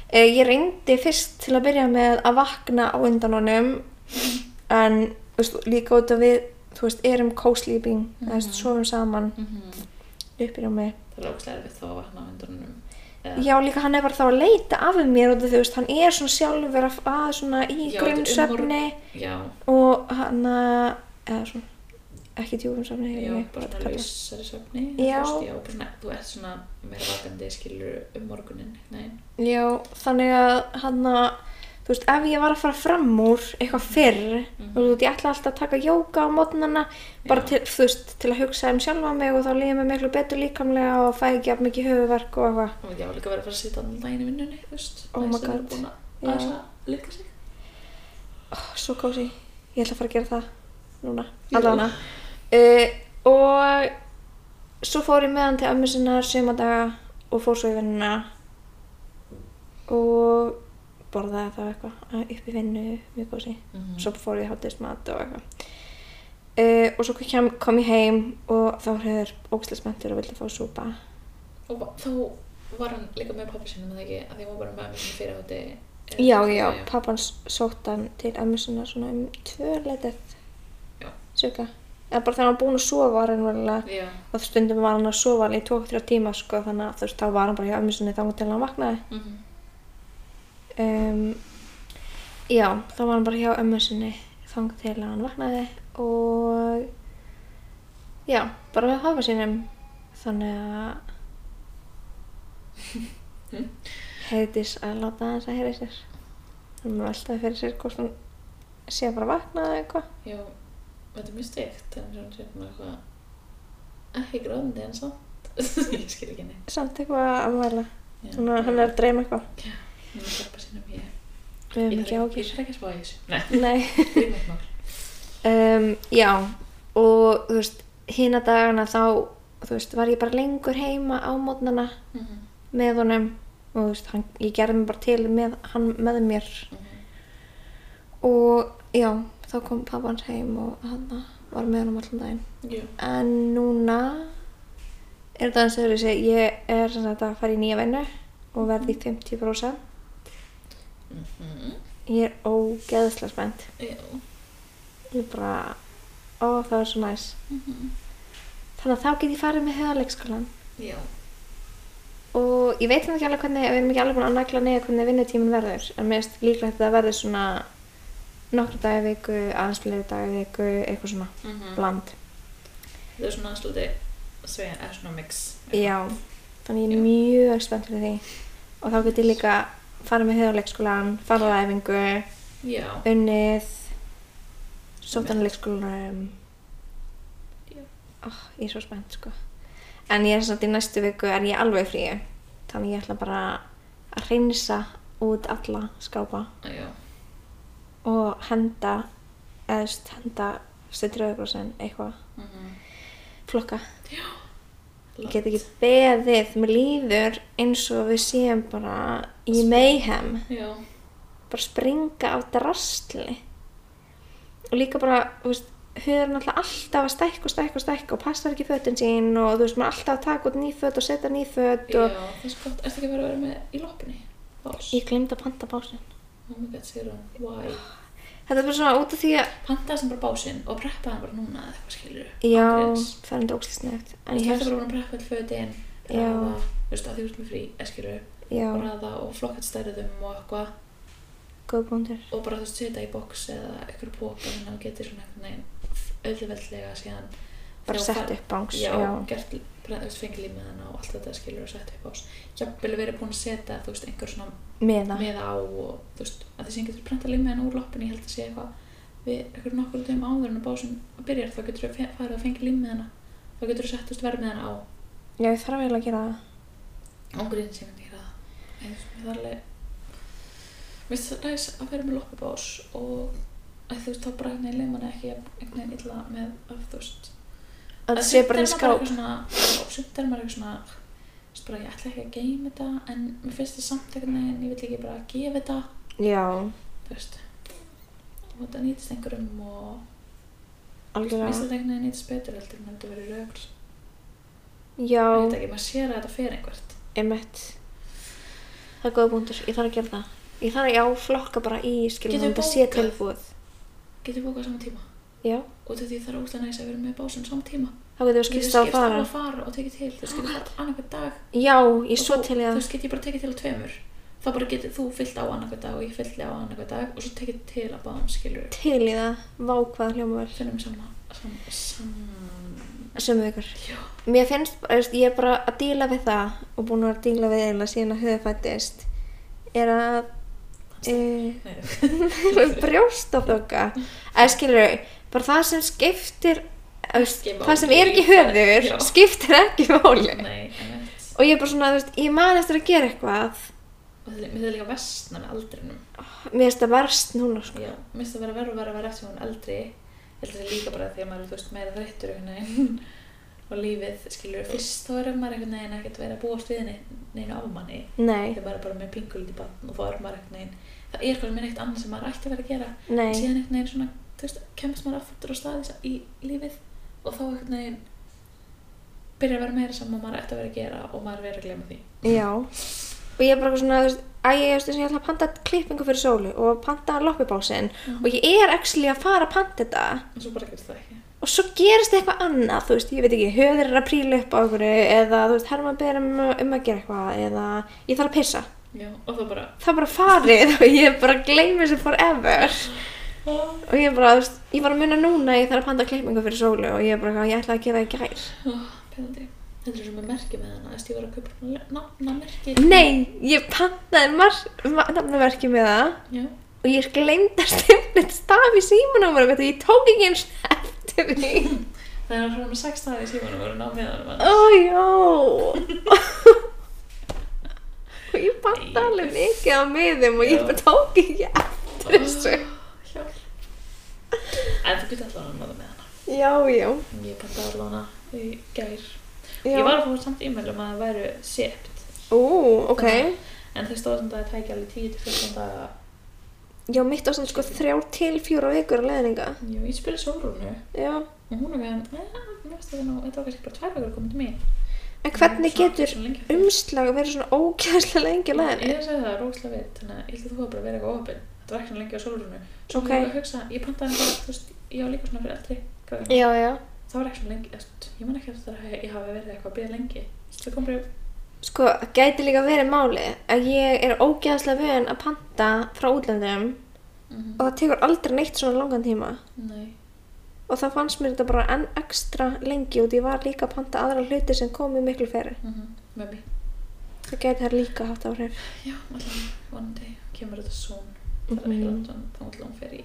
[SPEAKER 1] Eh, Ég reyndi fyrst til að byrja með að vakna á undan honum en þú veist, líka út af við þú veist, erum co-sleeping mm -hmm.
[SPEAKER 2] Mhm.
[SPEAKER 1] sofum saman uppir á mig
[SPEAKER 2] Það er ógstlega erfitt þá að vakna á undrunum.
[SPEAKER 1] Já, líka hann er bara þá að leita af mér út af því, þú veist, hann er svona sjálfur að, að svona í grunnsöfni
[SPEAKER 2] Já,
[SPEAKER 1] og hann að, eða svona, ekki djúfum söfni,
[SPEAKER 2] já,
[SPEAKER 1] ég veit
[SPEAKER 2] bara
[SPEAKER 1] hvað það
[SPEAKER 2] svona
[SPEAKER 1] kallast.
[SPEAKER 2] lausari söfni.
[SPEAKER 1] Já.
[SPEAKER 2] Þú veist, já, bara svona, þú ert svona meira vakandi skilur um morgunin. Nei,
[SPEAKER 1] Já, þannig að hann að, þú veist, ef ég var að fara fram úr eitthvað fyrr, þú veist, ég ætla alltaf að taka jóka á mótnana, bara
[SPEAKER 2] Já.
[SPEAKER 1] til, þú veist, til að hugsa um sjálfa mig og þá líða mig miklu betur líkamlega og fæ ekki af mikið höfuverk og eitthvað.
[SPEAKER 2] og já, líka verið að fara að sitja allan daginn í vinnunni, þú veist.
[SPEAKER 1] Oh my
[SPEAKER 2] Næs að vera
[SPEAKER 1] god.
[SPEAKER 2] búin
[SPEAKER 1] Já.
[SPEAKER 2] að aðeins að lykka sig.
[SPEAKER 1] oh, svo kósi, ég ætla að fara að gera það núna,
[SPEAKER 2] Já.
[SPEAKER 1] allavega uh, og svo fór ég með hann til ömmu sinnar sömadaga og fór svo í vinnuna og borðaði þá eitthvað eh, upp í vinnu, mjög kósi
[SPEAKER 2] Mhm.
[SPEAKER 1] svo fór ég hátismat og eitthvað uh, og svo kom, kom ég heim og þá hefur ógæslega spenntur og vildi fá súpa
[SPEAKER 2] Og ba- þá var hann líka með pappa sínum, eða ekki, að því hann var bara með mér svona fyrir hátti.
[SPEAKER 1] já, já, pappan sótt hann til ömmu sinnar svona um tvö letið
[SPEAKER 2] Já.
[SPEAKER 1] cirka eða bara þegar hann var búinn að sofa raunverulega
[SPEAKER 2] Já,
[SPEAKER 1] og stundum var hann að sofa alveg í 2-3 tíma sko, þannig að þú veist, þá var hann bara hjá ömmu sinni þannig til hann vaknaði
[SPEAKER 2] mhm.
[SPEAKER 1] um, já, þá var hann bara hjá ömmu sinni þannig til hann vaknaði og já, bara við hafa sínum þannig að
[SPEAKER 2] Hm?
[SPEAKER 1] heiðis að láta hans að heyra í sér þannig að veltaði fyrir sér hvort hann sé bara að vakna eða eitthvað
[SPEAKER 2] Já, þetta er mjög steikt en svona sér maður eitthvað ekki gráðandi en samt <laughs> ég skil ekki henni
[SPEAKER 1] samt eitthvað að mæla
[SPEAKER 2] Já.
[SPEAKER 1] þannig að hann er að dreyma eitthvað
[SPEAKER 2] Hún er að hjálpa sínum ég
[SPEAKER 1] við höfum ekki
[SPEAKER 2] ég þarf ekki- ég
[SPEAKER 1] ákjör
[SPEAKER 2] þarf ekki að spá í þessu <laughs> Nei,
[SPEAKER 1] nei
[SPEAKER 2] það er mjög mál
[SPEAKER 1] um, já og þú veist, hina dagana þá þú veist, var ég bara lengur heima á mótnana
[SPEAKER 2] Mhm,
[SPEAKER 1] með honum og þú veist, hann, ég gerði mig bara til með hann með mér
[SPEAKER 2] mhm.
[SPEAKER 1] og já, þá kom pappans heim og hann var með honum allan daginn
[SPEAKER 2] Já,
[SPEAKER 1] en núna er þetta eins og þau sé ég er sem sagt að fara í nýja vinnu og verði í 50%
[SPEAKER 2] mhm.
[SPEAKER 1] ég er ógeðslega spennt
[SPEAKER 2] Já,
[SPEAKER 1] ég bara, ó það er svo næs
[SPEAKER 2] mhm.
[SPEAKER 1] þannig að þá get ég farið með höfuleikskólan
[SPEAKER 2] Já,
[SPEAKER 1] og ég veit hann ekki alveg hvernig við erum ekki alveg búin að nægla neða hvernig vinnutíminn verður en mér finnst líklegt að það verður svona nokkru dagi í viku, aðeins fleiri dagi í viku eitthvað svona
[SPEAKER 2] mhm.
[SPEAKER 1] bland
[SPEAKER 2] það er svona svolítið svein, er svona mix
[SPEAKER 1] já, þannig ég
[SPEAKER 2] Já.
[SPEAKER 1] er mjög spennt fyrir því og þá get ég líka farið með höfuleikskólan, farið á æfingu
[SPEAKER 2] Já,
[SPEAKER 1] unnið sótanleikskólanum
[SPEAKER 2] Já.
[SPEAKER 1] oh, ég er svo spennt sko en ég er samt í næstu viku er ég alveg frí þannig ég ætla bara að reynsa út alla skápa
[SPEAKER 2] já,
[SPEAKER 1] og henda eða þú veist, henda styrröðuglósin eitthvað,
[SPEAKER 2] mhm.
[SPEAKER 1] flokka ég
[SPEAKER 2] Látt.
[SPEAKER 1] get ekki beðið, mér líður eins og við séum bara í mayhem
[SPEAKER 2] Já,
[SPEAKER 1] bara springa af drastli og líka bara þú veist, höfður náttúrulega alltaf að stækka og stækka og stækka og passar ekki fötin sín og þú veist, maður er alltaf að taka út nýföt og setja nýföt
[SPEAKER 2] já,
[SPEAKER 1] og
[SPEAKER 2] það er svo gott ertu ekki að vera að vera með í loppinni? Bás,
[SPEAKER 1] ég glemt að panta básinn
[SPEAKER 2] oh my god, segir hún, why?
[SPEAKER 1] þetta er bara svona út af því að
[SPEAKER 2] pantaði sem bara básinn og preppaði hann bara núna eða eitthvað skilur
[SPEAKER 1] já, það er enda ógslisnegt en ég
[SPEAKER 2] þetta
[SPEAKER 1] hef,
[SPEAKER 2] bara búin að preppa all fötin
[SPEAKER 1] Já.
[SPEAKER 2] ræða, þú veist að því út með frí skilur,
[SPEAKER 1] já,
[SPEAKER 2] og ræða og flokkat stærðum og eitthvað
[SPEAKER 1] góð búndur
[SPEAKER 2] og bara þú veist setja í box eða eitthvað póka þannig að þú getur svona einhvern veginn auðveldlega síðan
[SPEAKER 1] bara
[SPEAKER 2] þegar þú
[SPEAKER 1] sett
[SPEAKER 2] fær-
[SPEAKER 1] upp bángs
[SPEAKER 2] já,
[SPEAKER 1] já,
[SPEAKER 2] gert, pre- þú veist, fengi límið hana og allt þetta skilur og sett upp bás jafnvel verið búin að setja þú veist einhver svona
[SPEAKER 1] meða
[SPEAKER 2] miða á og þú veist að þessi getur prentað limmiðan úr loppinni, ég held að sé eitthvað við einhverjum nokkur dögum áður en að básum byrjar þá getur þú farið að fengja limmiðana þá getur þú settust vermiðana á
[SPEAKER 1] já, ég þarf eiginlega að gera það
[SPEAKER 2] ángurinn sem ég gera það en það er alveg mér finnst það ræðis að vera með loppabás og að þú veist þá bara einhvern veginn limmiðana ekki jafn- einhvern veginn illa með að þú veist
[SPEAKER 1] að það sé bara inn í
[SPEAKER 2] sumt er maður
[SPEAKER 1] skáp
[SPEAKER 2] eitthvað svona, já, sumt er maður eitthvað svona þú veist bara ég ætla ekki að geima þetta en mér finnst það samt einhvern veginn ég vil ekki bara gefa þetta
[SPEAKER 1] já,
[SPEAKER 2] þú veist og þetta nýtist einhverjum og
[SPEAKER 1] algjörlega
[SPEAKER 2] minnst þetta einhvern veginn nýtist betur heldur en þetta verið rögl
[SPEAKER 1] já,
[SPEAKER 2] ég veit ekki, maður sér að þetta fer einhvert
[SPEAKER 1] einmitt það er góða búndur, ég þarf að gera það ég þarf að já, flokka bara í skilum
[SPEAKER 2] Getum við
[SPEAKER 1] þetta sé
[SPEAKER 2] bókað?
[SPEAKER 1] tilbúið
[SPEAKER 2] Getur við bókað saman tíma?
[SPEAKER 1] já,
[SPEAKER 2] Út af því það er óslega næs að vera með básun saman tíma.
[SPEAKER 1] þá getum við
[SPEAKER 2] Þú getur
[SPEAKER 1] skipst á að fara
[SPEAKER 2] á að fara og tekið til. Þú veist, getur bara annarkvæð dag.
[SPEAKER 1] já, ég
[SPEAKER 2] og
[SPEAKER 1] svo
[SPEAKER 2] þú-
[SPEAKER 1] til ég
[SPEAKER 2] Þú
[SPEAKER 1] að
[SPEAKER 2] veist, getur ég bara tekið til á tveimur. Þá bara getur þú fyllt á annarkvæð dag og ég fyllt á annarkvæð dag og svo tekið til að báðum skilur.
[SPEAKER 1] til í það, vá hvað hljóma vel
[SPEAKER 2] Finnum sama, sama, sama.
[SPEAKER 1] sömu ykkur
[SPEAKER 2] Já.
[SPEAKER 1] mér finnst, bara, þú veist, ég er bara að díla við það og búin að vera að díla við eiginlega síðan að höfðfættist er að uh, <laughs> brjóstaflokka eða skilur, bara það sem skiptir þú veist,
[SPEAKER 2] Ekki
[SPEAKER 1] það sem
[SPEAKER 2] máli.
[SPEAKER 1] er ekki höfður
[SPEAKER 2] Já.
[SPEAKER 1] skiptir ekki máli
[SPEAKER 2] Nei, einmitt.
[SPEAKER 1] og ég er bara svona, þú veist, ég man eftir að gera eitthvað
[SPEAKER 2] Og þetta- Mér finnst það líka vestna með aldrinum.
[SPEAKER 1] mér finnst það verst núna sko.
[SPEAKER 2] Já, mér finnst það vera verra og verra að vera eftir hún eldri ég held að það er líka bara því að maður er þú veist, meira þreyttur einhvern veginn <laughs> og lífið skilur fyrst þá er maður einhvern veginn ekkert að vera að búast við neinu, neinu af manni
[SPEAKER 1] nei,
[SPEAKER 2] þegar maður er bara með pingulítið barn og þá er maður einhvern veginn það er einhvern veginn eitt annað sem maður ætti að vera að gera
[SPEAKER 1] nei,
[SPEAKER 2] en síðan einhvern veginn svona, þú veist, kemst maður aftur á staði í lífið og þá einhvern veginn byrja að vera meira saman maður ætti að vera að gera og maður verið að glema því
[SPEAKER 1] já og ég er bara eitthvað svona, þú veist, æ, ég, þú veist, ég ætla að panta klippingu fyrir sólu og panta loppibásin og ég er actually að fara að panta þetta
[SPEAKER 2] en svo bara gerst það ekki
[SPEAKER 1] og svo gerist eitthvað annað, þú veist, ég veit ekki, höður er að príla upp á einhverju eða, þú veist, herma ber um, um að gera eitthvað eða ég þarf að pissa.
[SPEAKER 2] Já, og þá bara
[SPEAKER 1] Það er bara farið <laughs> og ég bara gleymi þessu forever og ég bara, þú veist, ég var að muna núna að ég þarf að panta klippingu fyrir sólu og ég bara, eitthvað, ég ætlaði að gera það í gær.
[SPEAKER 2] Pennandi. Þetta er svo með merki með hana, þess að ég var að kaupa nafnamerki.
[SPEAKER 1] Nei, ég pantaði mar- ma- nafnamerki með það
[SPEAKER 2] Já.
[SPEAKER 1] og ég gleymd að stefnit staf í símanúmer og ég tók ekki eins eftir því.
[SPEAKER 2] Það er svona með sex staði í símanum og ná með hana.
[SPEAKER 1] Ó, já. <laughs> og ég banta alveg mikið á miðum og ég
[SPEAKER 2] Já.
[SPEAKER 1] bara tók ekki e- eftir þessu.
[SPEAKER 2] Hjálp. En þú getur allavega að náða með hana.
[SPEAKER 1] Já, já.
[SPEAKER 2] Ég pantaði allavega hana í gær.
[SPEAKER 1] já.
[SPEAKER 2] Ég var að fá samt e-mail um að það væru sept.
[SPEAKER 1] Ú, ok.
[SPEAKER 2] En þau stóðu samt að það tækja alveg 10-14 daga.
[SPEAKER 1] Já, mitt á svona sko þrjá til fjóra vikur að leðninga.
[SPEAKER 2] Jú, ég spila Sólrúnu
[SPEAKER 1] Já.
[SPEAKER 2] og hún er með hann, eh, mér finnst þetta nú, þetta var kannski bara tvær vegar að koma til mín.
[SPEAKER 1] En hvernig
[SPEAKER 2] Svona-
[SPEAKER 1] getur um
[SPEAKER 2] svona lengi að fara.
[SPEAKER 1] umslag verið svona ógæðslega lengi að
[SPEAKER 2] Ég
[SPEAKER 1] leðninga?
[SPEAKER 2] er að segja það rókslega við, þannig að ég held að þú hafa bara verið eitthvað ofinn. Þetta var ekki svona lengi á sólrunu. Svo
[SPEAKER 1] Ok.
[SPEAKER 2] okay. ég að hugsa, ég pantaði hann bara, þú veist, ég á líka svona fyrir eldri. gráðuna.
[SPEAKER 1] Já, já.
[SPEAKER 2] Það var ekki svona lengi, þú veist, ég man ekki eftir að ég hafi verið eitthvað að bíða lengi. Það kom bara,
[SPEAKER 1] Sko, það gæti líka verið málið að ég er ógæðslega vön að panta frá útlöndum og það tekur aldrei neitt svona langan tíma.
[SPEAKER 2] Mhm. nei,
[SPEAKER 1] og það fannst mér þetta bara enn ekstra lengi og því var líka að panta aðra hluti sem komi miklu fyrir.
[SPEAKER 2] mm -hmm. með mér.
[SPEAKER 1] Það gæti þær líka haft áhrif.
[SPEAKER 2] Já, alltaf, one day, kemur þetta són. Það er
[SPEAKER 1] Mhm.
[SPEAKER 2] ekki langt, þannig að hún fer í,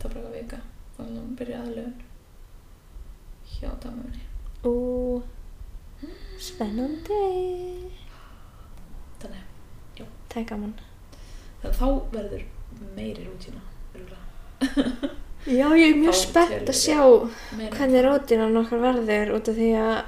[SPEAKER 2] það er bara eitthvað vika, og hún byrja aðlöfun. Hjá damunni.
[SPEAKER 1] Ú, spennandi.
[SPEAKER 2] Þannig,
[SPEAKER 1] Það er gaman.
[SPEAKER 2] þannig að þá verður meiri rútína, örugglega.
[SPEAKER 1] Já, ég er mjög
[SPEAKER 2] Þá
[SPEAKER 1] spennt að
[SPEAKER 2] telur
[SPEAKER 1] sjá
[SPEAKER 2] Meiri-
[SPEAKER 1] hvernig rótinan okkar verður út af því að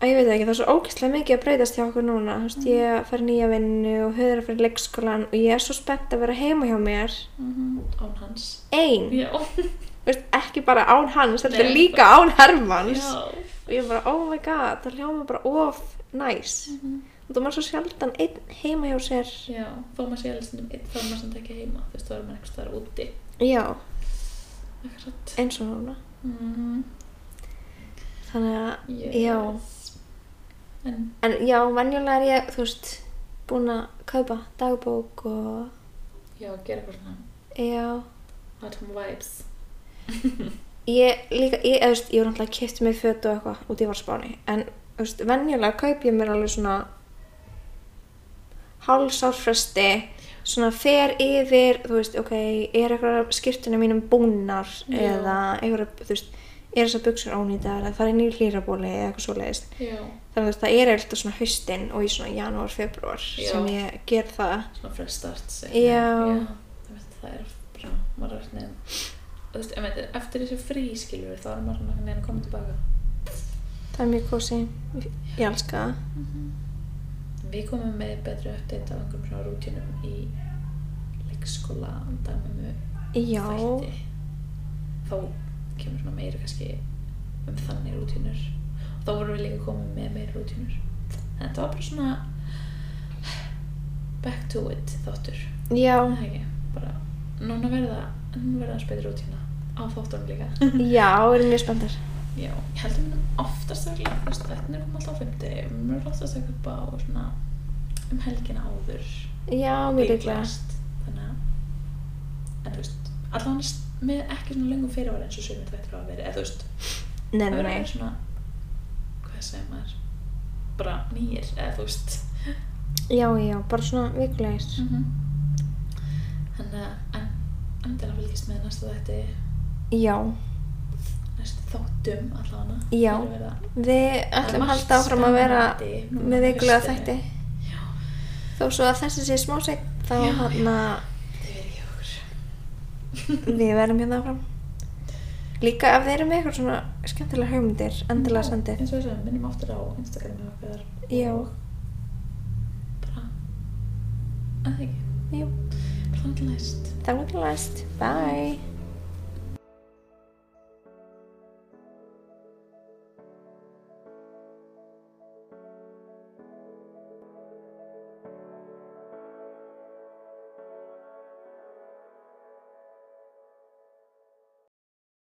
[SPEAKER 1] að ég veit það ekki, það er svo ógæslega mikið að breytast hjá okkur núna. Þú veist, ég fer nýja vinnu og höður að fyrir leikskólan og ég er svo spennt að vera heima hjá mér.
[SPEAKER 2] Mhm, án hans.
[SPEAKER 1] Ein,
[SPEAKER 2] Já,
[SPEAKER 1] þú veist, ekki bara án hans, þetta er
[SPEAKER 2] Nei,
[SPEAKER 1] líka án Hermanns.
[SPEAKER 2] já.
[SPEAKER 1] og ég bara, oh my god, það hljóma bara of nice
[SPEAKER 2] Mhm.
[SPEAKER 1] og það var svo sjaldan einn heima hjá sér
[SPEAKER 2] Já, þó maður sé alveg stundum einn, þá er maður samt ekki heima, þú veist, þá er maður einhvers staðar úti.
[SPEAKER 1] já,
[SPEAKER 2] Akkurat.
[SPEAKER 1] eins og núna
[SPEAKER 2] Mm,
[SPEAKER 1] þannig að,
[SPEAKER 2] yes.
[SPEAKER 1] já
[SPEAKER 2] En,
[SPEAKER 1] en já, venjulega er ég, þú veist búin að kaupa dagbók og
[SPEAKER 2] já, gera eitthvað svona,
[SPEAKER 1] já,
[SPEAKER 2] atom vibes.
[SPEAKER 1] ég líka, ég, eða, þú veist, ég var náttúrulega kipt mig föt og eitthvað út í varspáni en, þú veist, venjulega kaup ég mér alveg svona hálsárfresti svona fer yfir, þú veist, ok er eitthvað skýrtunum mínum búnar
[SPEAKER 2] Já.
[SPEAKER 1] eða eitthvað, þú veist er þessar buksur ónýtar, eða það er nýr hlýrabóli eða eitthvað svoleiðist,
[SPEAKER 2] Já.
[SPEAKER 1] þannig að þú veist, það er eitthvað svona haustin og í svona janúar, februar
[SPEAKER 2] Já.
[SPEAKER 1] sem ég ger það
[SPEAKER 2] Svona fresh starts. einhvern
[SPEAKER 1] Já.
[SPEAKER 2] veginn, Já, það, það er bara, maður er neginn. Þú veist, ef maður- eftir þessu frí skilur þá er maður svona neginn að koma tilbaka.
[SPEAKER 1] það er mjög kosi, ég elska það
[SPEAKER 2] Við komum með betri update af einhverjum svona rútinum í leikskóla, dæmum
[SPEAKER 1] já,
[SPEAKER 2] þætti þá kemur svona meira kannski um þannig rútínur og þá vorum við líka komið með meira rútínur en þetta var bara svona back to it þáttur
[SPEAKER 1] já,
[SPEAKER 2] það er ekki, bara núna verða núna verða þess betri rútína á þáttunum líka
[SPEAKER 1] <laughs> já, erum mjög spenntar
[SPEAKER 2] já, ég held að við munum oftast að glæða þess að þetta er komið alltaf á fymti við munum oftast að kaupa á svona um helgina áður
[SPEAKER 1] já, mjög líklega
[SPEAKER 2] líklegast þannig að en þú veist, allan með ekki svona löngum fyrirvara eins og sömur þetta hafa verið eða þú veist,
[SPEAKER 1] nei,
[SPEAKER 2] það
[SPEAKER 1] nei,
[SPEAKER 2] verður
[SPEAKER 1] nei,
[SPEAKER 2] að vera svona hvað segir maður bara nýjir, eða þú veist
[SPEAKER 1] já, já, bara svona vikulegis
[SPEAKER 2] Mm. þannig að en, endilega fylgist með næsta þetta
[SPEAKER 1] já,
[SPEAKER 2] næstu þáttum allan
[SPEAKER 1] Já. við ætlum að halda áfram að vera með vikulega þætti
[SPEAKER 2] já,
[SPEAKER 1] þó svo að þessi sé smá seg þá hérna-
[SPEAKER 2] Já, já.
[SPEAKER 1] hann
[SPEAKER 2] það verður ekki okkur
[SPEAKER 1] við verðum hérna áfram líka ef þeir eru með eitthvað svona skemmtilega hugmyndir endilega
[SPEAKER 2] Já,
[SPEAKER 1] sendið
[SPEAKER 2] eins og þess að minnum áttur á Instagrami okkar
[SPEAKER 1] Já.
[SPEAKER 2] og bara að það ekki
[SPEAKER 1] Jú,
[SPEAKER 2] Plantlæst.
[SPEAKER 1] þannig til næst, bye